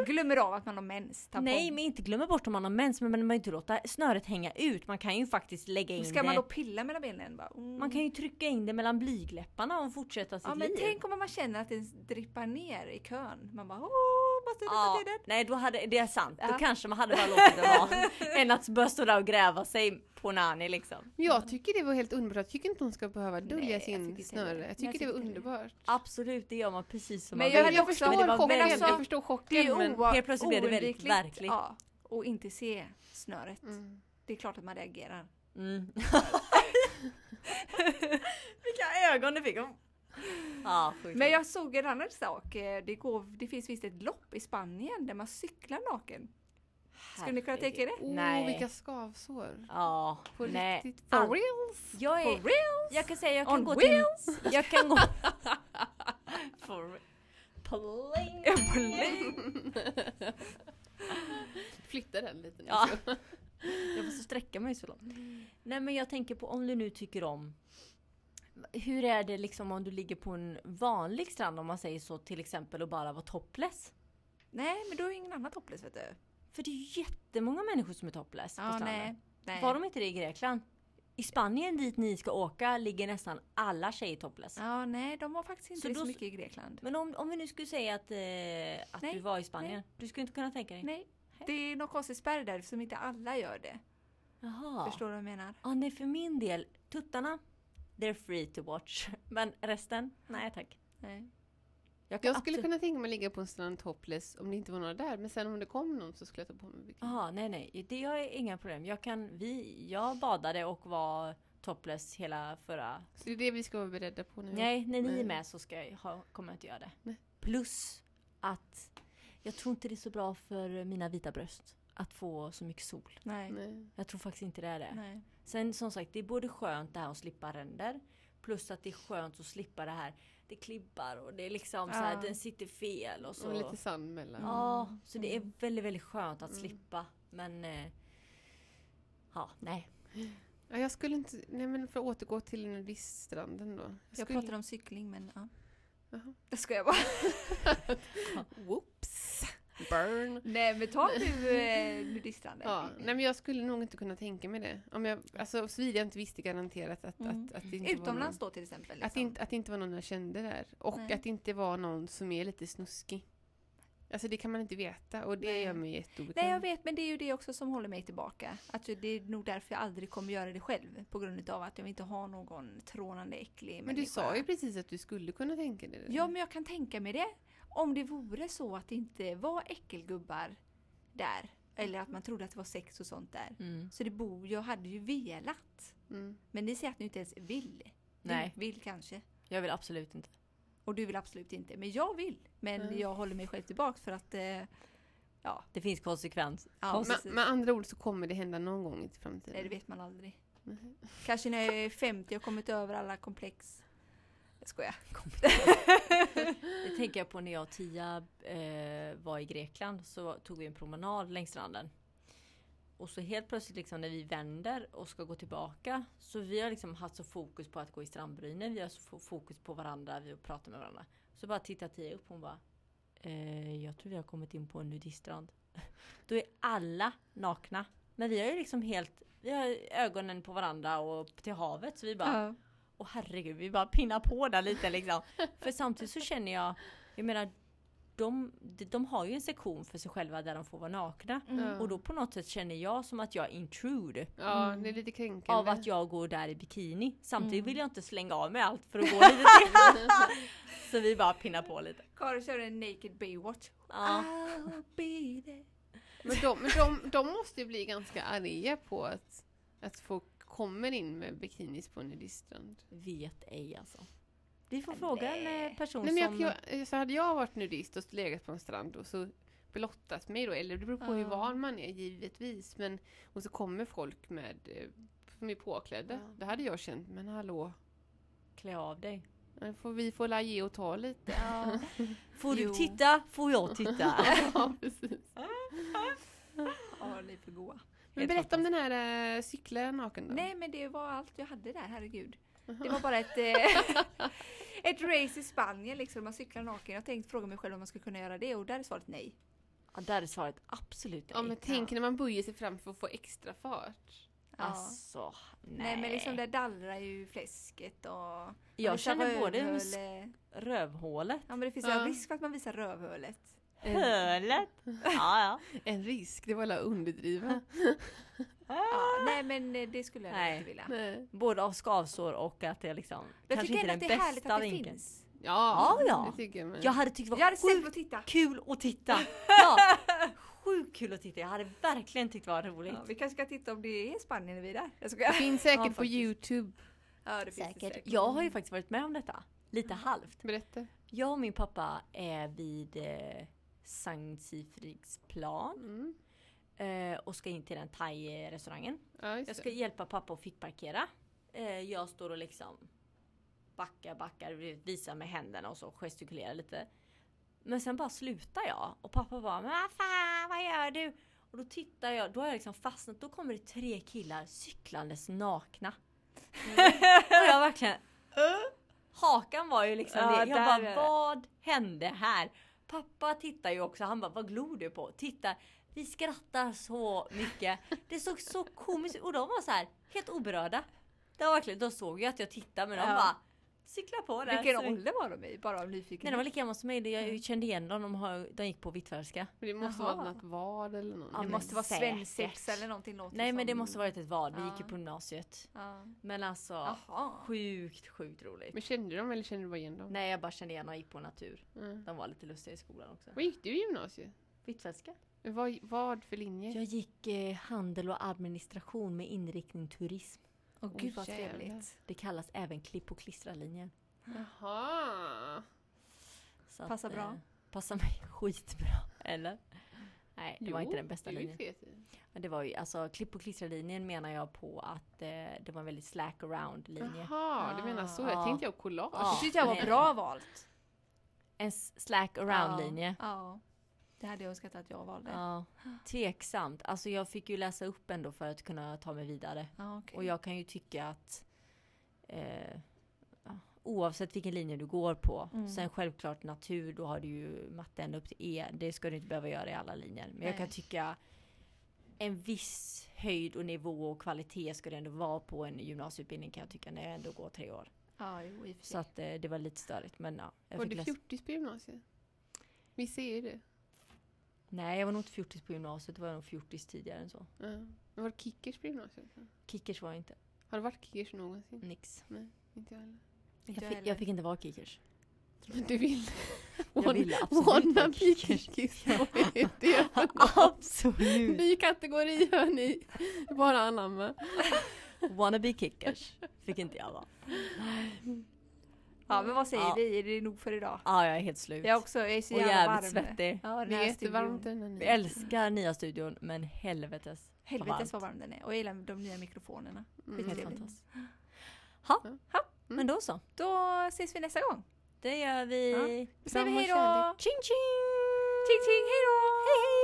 [SPEAKER 4] Glömmer av att man har mens. tampong.
[SPEAKER 3] Nej men inte glömma bort om man har mens men man behöver inte låta snöret hänga ut. Man kan ju faktiskt lägga in
[SPEAKER 4] Ska
[SPEAKER 3] det.
[SPEAKER 4] man då pilla mellan benen? Bara, mm.
[SPEAKER 3] Man kan ju trycka in det mellan blygläpparna och fortsätta sitt
[SPEAKER 4] ja, men
[SPEAKER 3] liv.
[SPEAKER 4] tänk om man känner att den drippar ner i kön. Man bara åh, måste jag
[SPEAKER 3] Ja,
[SPEAKER 4] ta tiden?
[SPEAKER 3] nej då hade, det är sant. Då
[SPEAKER 4] Ja.
[SPEAKER 3] kanske man hade bara låtit det vara. Än att börja stå där och gräva sig på Nani liksom.
[SPEAKER 5] Men Jag tycker det var helt underbart. Jag tycker inte hon ska behöva dölja
[SPEAKER 4] Nej, jag tycker
[SPEAKER 5] sin
[SPEAKER 4] inte heller.
[SPEAKER 5] snöre. Jag tycker
[SPEAKER 4] Jag
[SPEAKER 5] det var
[SPEAKER 4] tycker inte
[SPEAKER 5] underbart.
[SPEAKER 3] Absolut, det gör man precis som
[SPEAKER 4] Men
[SPEAKER 3] man
[SPEAKER 4] jag
[SPEAKER 3] vill.
[SPEAKER 4] hade också-
[SPEAKER 5] förstår
[SPEAKER 3] men alltså, det var
[SPEAKER 5] chocken.
[SPEAKER 3] väldigt-
[SPEAKER 5] jag förstår chocken.
[SPEAKER 4] Det är
[SPEAKER 5] men-
[SPEAKER 4] oa-
[SPEAKER 3] helt plötsligt blir det väldigt
[SPEAKER 4] oundvikligt,
[SPEAKER 3] verkligt.
[SPEAKER 4] Ja, och inte se snöret.
[SPEAKER 5] Mm.
[SPEAKER 4] Det är klart att man reagerar.
[SPEAKER 3] Mm. Vilka ögon du fick! Ja, sjukt.
[SPEAKER 4] Men jag såg en annan sak. Eh, Det, går, det finns visst ett lopp i Spanien där man cyklar naken. Skulle ni kunna tänka er det?
[SPEAKER 5] Åh,
[SPEAKER 3] Nej.
[SPEAKER 5] vilka skavsår.
[SPEAKER 3] Ja,
[SPEAKER 5] På
[SPEAKER 3] nej.
[SPEAKER 5] riktigt. For
[SPEAKER 3] Allt.
[SPEAKER 5] reals.
[SPEAKER 3] Jag är,
[SPEAKER 4] For real?
[SPEAKER 3] Jag kan säga jag kan
[SPEAKER 4] On
[SPEAKER 3] gå till... Jag kan gå... For... Pling.
[SPEAKER 5] Flytta den lite nu.
[SPEAKER 3] Ja. Jag måste sträcka mig så långt. Nej men jag tänker på om du nu tycker om hur är det liksom om du ligger på en vanlig strand om man säger så till exempel och bara var topless?
[SPEAKER 4] Nej, men då är ingen annan topless vet du.
[SPEAKER 3] För det är ju jättemånga människor som är topless på
[SPEAKER 4] Ja,
[SPEAKER 3] stranden.
[SPEAKER 4] nej. nej.
[SPEAKER 3] Var de inte det i Grekland? I Spanien dit ni ska åka ligger nästan alla tjejer topless.
[SPEAKER 4] Ja, nej, de har faktiskt inte
[SPEAKER 3] Så
[SPEAKER 4] så,
[SPEAKER 3] då-
[SPEAKER 4] mycket i Grekland.
[SPEAKER 3] Men om, om vi nu skulle säga att, eh, att
[SPEAKER 4] Nej,
[SPEAKER 3] du var i Spanien, du skulle inte kunna tänka dig?
[SPEAKER 4] Nej, det är någon konstig spärr där som inte alla gör det.
[SPEAKER 3] Jaha.
[SPEAKER 4] Förstår du vad jag menar?
[SPEAKER 3] Ja, nej för min del, tuttarna, they're free to watch. Men resten, nej tack.
[SPEAKER 4] Nej.
[SPEAKER 5] Jag skulle
[SPEAKER 3] absolut-
[SPEAKER 5] kunna tänka mig att ligga på en strand topless om det inte var några där. Men sen om det kom någon så skulle jag ta på mig bikini.
[SPEAKER 3] Jaha, nej nej, det har jag inga problem. Jag kan, vi, jag badade och var topless hela förra...
[SPEAKER 5] Så det är det vi ska vara beredda på nu.
[SPEAKER 3] Nej, när ni
[SPEAKER 5] Nej.
[SPEAKER 3] är med så ska jag, ha, kommer jag inte göra det.
[SPEAKER 5] Nej.
[SPEAKER 3] Plus att jag tror inte det är så bra för mina vita bröst att få så mycket sol.
[SPEAKER 4] Nej.
[SPEAKER 5] Nej.
[SPEAKER 3] Jag tror faktiskt inte det är det.
[SPEAKER 4] nej.
[SPEAKER 3] Sen som sagt, det är både skönt det här att slippa ränder. Plus att det är skönt att slippa det här. Det klibbar och det är liksom så här,
[SPEAKER 4] Ja.
[SPEAKER 3] den sitter fel och så.
[SPEAKER 5] Och lite sand mellan.
[SPEAKER 3] Ja, så det är väldigt, väldigt skönt att slippa. Men... Eh, ja, nej.
[SPEAKER 5] Ja, jag skulle inte... Nej men för att återgå till nudiststranden då.
[SPEAKER 4] Jag
[SPEAKER 5] skulle-
[SPEAKER 4] pratar om cykling men ja.
[SPEAKER 5] Jaha.
[SPEAKER 4] Det ska jag bara.
[SPEAKER 5] Whoops! Burn!
[SPEAKER 4] Nej men ta nu eh, nudiststranden.
[SPEAKER 5] Ja, nej men jag skulle nog inte kunna tänka mig det. Om jag, alltså såvida jag inte visste garanterat att,
[SPEAKER 4] Mm.
[SPEAKER 5] att, att det inte var någon,
[SPEAKER 4] Utomlands då till exempel. Liksom.
[SPEAKER 5] att, det inte, att det inte var någon jag kände där. Och
[SPEAKER 4] Nej.
[SPEAKER 5] att det inte var någon som är lite snuskig. Alltså det kan man inte veta och det
[SPEAKER 4] Nej.
[SPEAKER 5] gör mig
[SPEAKER 4] Nej jag
[SPEAKER 5] jätteobekväm.
[SPEAKER 4] vet men det är ju det också som håller mig tillbaka. Att det är nog därför jag aldrig kommer göra det själv. På grund av att jag inte har någon trånande äcklig
[SPEAKER 5] Men du
[SPEAKER 4] människa.
[SPEAKER 5] sa ju precis att du skulle kunna tänka dig det.
[SPEAKER 4] Ja men jag kan tänka mig det. Om det vore så att det inte var äckelgubbar där. Eller att man trodde att det var sex och sånt där.
[SPEAKER 3] Mm.
[SPEAKER 4] Så det bo, jag hade ju velat.
[SPEAKER 5] Mm.
[SPEAKER 4] Men ni säger att ni inte ens vill.
[SPEAKER 3] Nej.
[SPEAKER 4] Du vill kanske.
[SPEAKER 3] Jag vill absolut inte.
[SPEAKER 4] Och du vill absolut inte. Men jag vill. Men
[SPEAKER 5] Mm.
[SPEAKER 4] jag håller mig själv tillbaka för att... Eh, ja,
[SPEAKER 3] Det finns konsekvens.
[SPEAKER 4] ja
[SPEAKER 3] Men-
[SPEAKER 4] precis.
[SPEAKER 5] Med, med andra ord så kommer det hända någon gång i framtiden.
[SPEAKER 4] Nej, det vet man aldrig.
[SPEAKER 5] Nej.
[SPEAKER 4] Kanske när jag är 50 och kommit över alla komplex. Jag skojar.
[SPEAKER 3] Det tänker jag på när jag och Tia eh, var i Grekland så tog vi en promenad längs stranden. Och så helt plötsligt liksom när vi vänder och ska gå tillbaka så vi har liksom haft så fokus på att gå i strandbrynen. Vi har så fo- fokus på varandra, vi pratar med varandra. Så bara tittar Tia upp och hon bara eh, Jag tror vi har kommit in på en nudiststrand. Då är alla nakna. Men vi har ju liksom helt vi har ögonen på varandra och upp till havet så vi bara
[SPEAKER 4] Ja.
[SPEAKER 3] Åh herregud, vi bara pinnar på där lite liksom. För samtidigt så känner jag, jag menar, de, de har ju en sektion för sig själva där de får vara nakna.
[SPEAKER 5] Mm.
[SPEAKER 3] Och då på något sätt känner jag som att jag är intrude
[SPEAKER 5] Ja, det är lite kränkande.
[SPEAKER 3] av att jag går där i bikini. Samtidigt vill jag inte slänga av mig allt för att gå lite till. Så vi bara pinnar på lite.
[SPEAKER 4] Karo kör en naked Baywatch.
[SPEAKER 3] Ja.
[SPEAKER 4] I'll be there.
[SPEAKER 5] Men, de, men de, de måste ju bli ganska arga på att, att folk kommer in med bikinis på nudiststrand.
[SPEAKER 3] Vet ej alltså. Vi får fråga en eh, person
[SPEAKER 5] Nej, men jag,
[SPEAKER 3] som...
[SPEAKER 5] jag, så hade jag varit nudist och legat på en strand och så blottat mig då, eller det beror på hur
[SPEAKER 4] Ja.
[SPEAKER 5] van man är givetvis, men och så kommer folk med eh, som är påklädda.
[SPEAKER 4] Ja.
[SPEAKER 5] Då hade jag känt, men hallå,
[SPEAKER 3] Klä av dig.
[SPEAKER 5] eh, får vi får la ge och ta lite.
[SPEAKER 4] Ja.
[SPEAKER 3] Får du
[SPEAKER 4] Jo.
[SPEAKER 3] titta? Får jag titta?
[SPEAKER 5] ja, precis.
[SPEAKER 4] ja, ni är för goa.
[SPEAKER 5] Men berätta om den här eh, cykla naken då.
[SPEAKER 4] Nej men det var allt jag hade där, herregud. Det
[SPEAKER 5] Jaha.
[SPEAKER 4] var bara ett, eh, ett race i Spanien liksom, man cyklar naken. Jag tänkte fråga mig själv om man skulle kunna göra det och där är svaret nej.
[SPEAKER 3] Ja, där är svaret absolut nej.
[SPEAKER 5] Ja, men tänk när man böjer sig fram för att få extra fart.
[SPEAKER 4] Ja.
[SPEAKER 3] Alltså, nej.
[SPEAKER 4] Nej men liksom där dallrar ju fläsket och...
[SPEAKER 3] jag
[SPEAKER 4] visar
[SPEAKER 3] känner både en sk-
[SPEAKER 4] rövhåle.
[SPEAKER 3] rövhålet,
[SPEAKER 4] Ja men det finns
[SPEAKER 5] Ja.
[SPEAKER 4] en risk för att man visar rövhålet.
[SPEAKER 3] Eh. hölet. Ja, ja.
[SPEAKER 5] En risk, det var alla underdriva.
[SPEAKER 4] Ja, nej men eh, det skulle jag nog
[SPEAKER 3] Nej.
[SPEAKER 4] inte vilja.
[SPEAKER 5] Nej.
[SPEAKER 3] Både av skavsår och att det liksom...
[SPEAKER 4] Jag
[SPEAKER 3] kanske
[SPEAKER 4] tycker
[SPEAKER 3] inte
[SPEAKER 4] ändå
[SPEAKER 3] den
[SPEAKER 4] att det är härligt
[SPEAKER 3] bästa
[SPEAKER 4] att det
[SPEAKER 3] vinkeln.
[SPEAKER 4] finns.
[SPEAKER 5] Ja,
[SPEAKER 3] Ja, ja.
[SPEAKER 5] det tycker jag med.
[SPEAKER 3] Jag hade tyckt det
[SPEAKER 4] Jag
[SPEAKER 3] var
[SPEAKER 4] hade ställt
[SPEAKER 3] sjukt
[SPEAKER 4] mig och titta.
[SPEAKER 3] kul att titta. Ja, sjukt kul att titta. Jag hade verkligen tyckt det var roligt.
[SPEAKER 4] Ja, vi kanske ska titta om det är Spanien när vi är där. Jag skojar.
[SPEAKER 5] Det finns säkert
[SPEAKER 3] Ja,
[SPEAKER 5] på
[SPEAKER 3] faktiskt.
[SPEAKER 5] Youtube.
[SPEAKER 4] Ja det finns det säkert.
[SPEAKER 3] Jag har ju faktiskt varit med om detta. Lite halvt.
[SPEAKER 5] Berätta.
[SPEAKER 3] Jag och min pappa är vid eh, Sankt Sifrids plan
[SPEAKER 5] Mm.
[SPEAKER 3] eh, och ska in till den thai-restaurangen.
[SPEAKER 5] Ja, just
[SPEAKER 3] Jag
[SPEAKER 5] det.
[SPEAKER 3] ska hjälpa pappa att fickparkera. Eh, jag står och liksom backar, backar, visar med händerna och så gestikulerar lite. Men sen bara slutar jag och pappa bara Men vad fan, vad gör du? Och då tittar jag, då har jag liksom fastnat. Då kommer det tre killar cyklandes nakna.
[SPEAKER 5] Mm.
[SPEAKER 3] och jag verkligen "Ö?" Hakan var ju liksom
[SPEAKER 4] Ja,
[SPEAKER 3] det.
[SPEAKER 4] där
[SPEAKER 3] Jag
[SPEAKER 4] är det.
[SPEAKER 3] bara vad hände här? Pappa tittar ju också. Han bara vad glor du på? Titta, vi skrattar så mycket. Det såg så komiskt ut. Och de var så här helt oberörda. Det var verkligen, de såg ju att jag tittade men de
[SPEAKER 4] Ja.
[SPEAKER 3] bara cykla på där.
[SPEAKER 4] Vilken
[SPEAKER 3] Så
[SPEAKER 5] alltså.
[SPEAKER 3] det-
[SPEAKER 4] ålder var de i? Bara av
[SPEAKER 3] Nej, de var
[SPEAKER 4] nyfikenhet.
[SPEAKER 3] lika gamla som mig. Jag kände igen dem. De, har, de gick på Hvitfeldtska.
[SPEAKER 5] Men det måste
[SPEAKER 4] Jaha.
[SPEAKER 5] vara något vad eller något.
[SPEAKER 3] Ja,
[SPEAKER 4] Det
[SPEAKER 3] men
[SPEAKER 4] måste vara
[SPEAKER 3] säkert.
[SPEAKER 4] svensexa eller någonting låter
[SPEAKER 3] Nej, men
[SPEAKER 4] som.
[SPEAKER 3] det måste varit ett val. Vi gick ju
[SPEAKER 4] Ja.
[SPEAKER 3] på gymnasiet.
[SPEAKER 4] Ja.
[SPEAKER 3] Men alltså,
[SPEAKER 4] Jaha.
[SPEAKER 3] sjukt, sjukt roligt.
[SPEAKER 5] Men kände du dem eller kände du bara igen dem?
[SPEAKER 3] Nej, jag bara kände igen dem. gick på natur.
[SPEAKER 5] Mm.
[SPEAKER 3] De var lite lustiga i skolan också.
[SPEAKER 5] Vad gick du i gymnasiet?
[SPEAKER 3] Hvitfeldtska?
[SPEAKER 5] Men Vad, vad för linje?
[SPEAKER 3] Jag gick eh, handel och administration med inriktning turism.
[SPEAKER 4] Åh gud vad
[SPEAKER 5] Åh, jävlar.
[SPEAKER 4] trevligt.
[SPEAKER 3] Det kallas även klipp och klistra-linjen.
[SPEAKER 5] Jaha!
[SPEAKER 3] Så att,
[SPEAKER 4] Passar bra.
[SPEAKER 3] Eh, passar mig skitbra. Eller? Nej, det var
[SPEAKER 5] Jo,
[SPEAKER 3] inte den bästa
[SPEAKER 5] det är ju
[SPEAKER 3] linjen.
[SPEAKER 5] fet ju.
[SPEAKER 3] Men det var ju, alltså klipp och klistra-linjen menar jag på att eh, det var en väldigt slack around-linje.
[SPEAKER 5] Jaha, du menar så. Jag
[SPEAKER 3] Ja.
[SPEAKER 5] tänkte jag collage.
[SPEAKER 3] Ah. Ja.
[SPEAKER 4] Det tyckte jag var
[SPEAKER 3] Nej.
[SPEAKER 4] bra valt.
[SPEAKER 3] En s- slack around-linje.
[SPEAKER 4] Ja. ja. Det hade jag önskat att jag valde. Ja.
[SPEAKER 3] Ja. Tveksamt. Alltså jag fick ju läsa upp ändå för att kunna ta mig vidare.
[SPEAKER 4] okej.
[SPEAKER 3] Och jag kan ju tycka att eh, ja, oavsett vilken linje du går på.
[SPEAKER 4] Mm.
[SPEAKER 3] Sen självklart natur, då har du ju matte ända upp till E. Det ska du inte behöva göra i alla linjer. Men jag kan
[SPEAKER 4] Nej.
[SPEAKER 3] tycka en viss höjd och nivå och kvalitet ska det ändå vara på en gymnasieutbildning kan jag tycka när jag ändå går tre år.
[SPEAKER 4] Ja, jo, i och för
[SPEAKER 3] Så
[SPEAKER 4] sig.
[SPEAKER 3] att eh, det var lite störigt men ja. Jag
[SPEAKER 5] Var
[SPEAKER 3] fick
[SPEAKER 5] du
[SPEAKER 3] läsa-
[SPEAKER 5] fjortis på gymnasiet? Vi ser ju det.
[SPEAKER 3] Nej jag var nog inte fjortis på gymnasiet, det var jag nog fjortis tidigare än så.
[SPEAKER 5] Ja. Men Var du kickers på gymnasiet?
[SPEAKER 3] Kickers var jag inte,
[SPEAKER 5] Har du varit kickers någonsin?
[SPEAKER 3] nix.
[SPEAKER 5] Inte jag heller.
[SPEAKER 4] Inte
[SPEAKER 3] Jag
[SPEAKER 4] jag
[SPEAKER 3] fick, jag
[SPEAKER 4] heller.
[SPEAKER 3] fick inte vara kickers.
[SPEAKER 5] Men du ville?
[SPEAKER 3] Jag ville absolut
[SPEAKER 5] Wanna
[SPEAKER 3] vara
[SPEAKER 5] be
[SPEAKER 3] kickers.
[SPEAKER 5] kickers. Vad är det för något?
[SPEAKER 3] Absolut!
[SPEAKER 5] Ny kategori hör ni. Bara anamma.
[SPEAKER 3] Wannabe kickers fick inte jag vara.
[SPEAKER 4] Ja, men vad säger
[SPEAKER 3] Ja.
[SPEAKER 4] vi? Är det nog för idag?
[SPEAKER 3] Ja, Ah, jag är helt slut.
[SPEAKER 4] Jag också, jag är så
[SPEAKER 3] och
[SPEAKER 4] jävla varm.
[SPEAKER 3] jävligt svettig.
[SPEAKER 4] Ja, den
[SPEAKER 5] Det
[SPEAKER 4] här
[SPEAKER 5] är jättevarmt
[SPEAKER 4] studion.
[SPEAKER 5] i den här
[SPEAKER 3] Vi
[SPEAKER 5] nya.
[SPEAKER 3] älskar nya studion, men helvetes.
[SPEAKER 4] Helvetes vad varm den är. Och jag gillar de nya mikrofonerna.
[SPEAKER 5] Mm.
[SPEAKER 3] Helt
[SPEAKER 4] Skittrevligt.
[SPEAKER 3] fantastiskt. Ha,
[SPEAKER 5] Mm.
[SPEAKER 3] ha. Men då så.
[SPEAKER 4] Då ses vi nästa gång.
[SPEAKER 3] Det gör vi.
[SPEAKER 4] Ja. Då säger vi
[SPEAKER 5] Kram och
[SPEAKER 4] hej då!
[SPEAKER 5] kärlek.
[SPEAKER 3] Ching ching!
[SPEAKER 4] Ting ting, hej då!
[SPEAKER 3] Hej hej!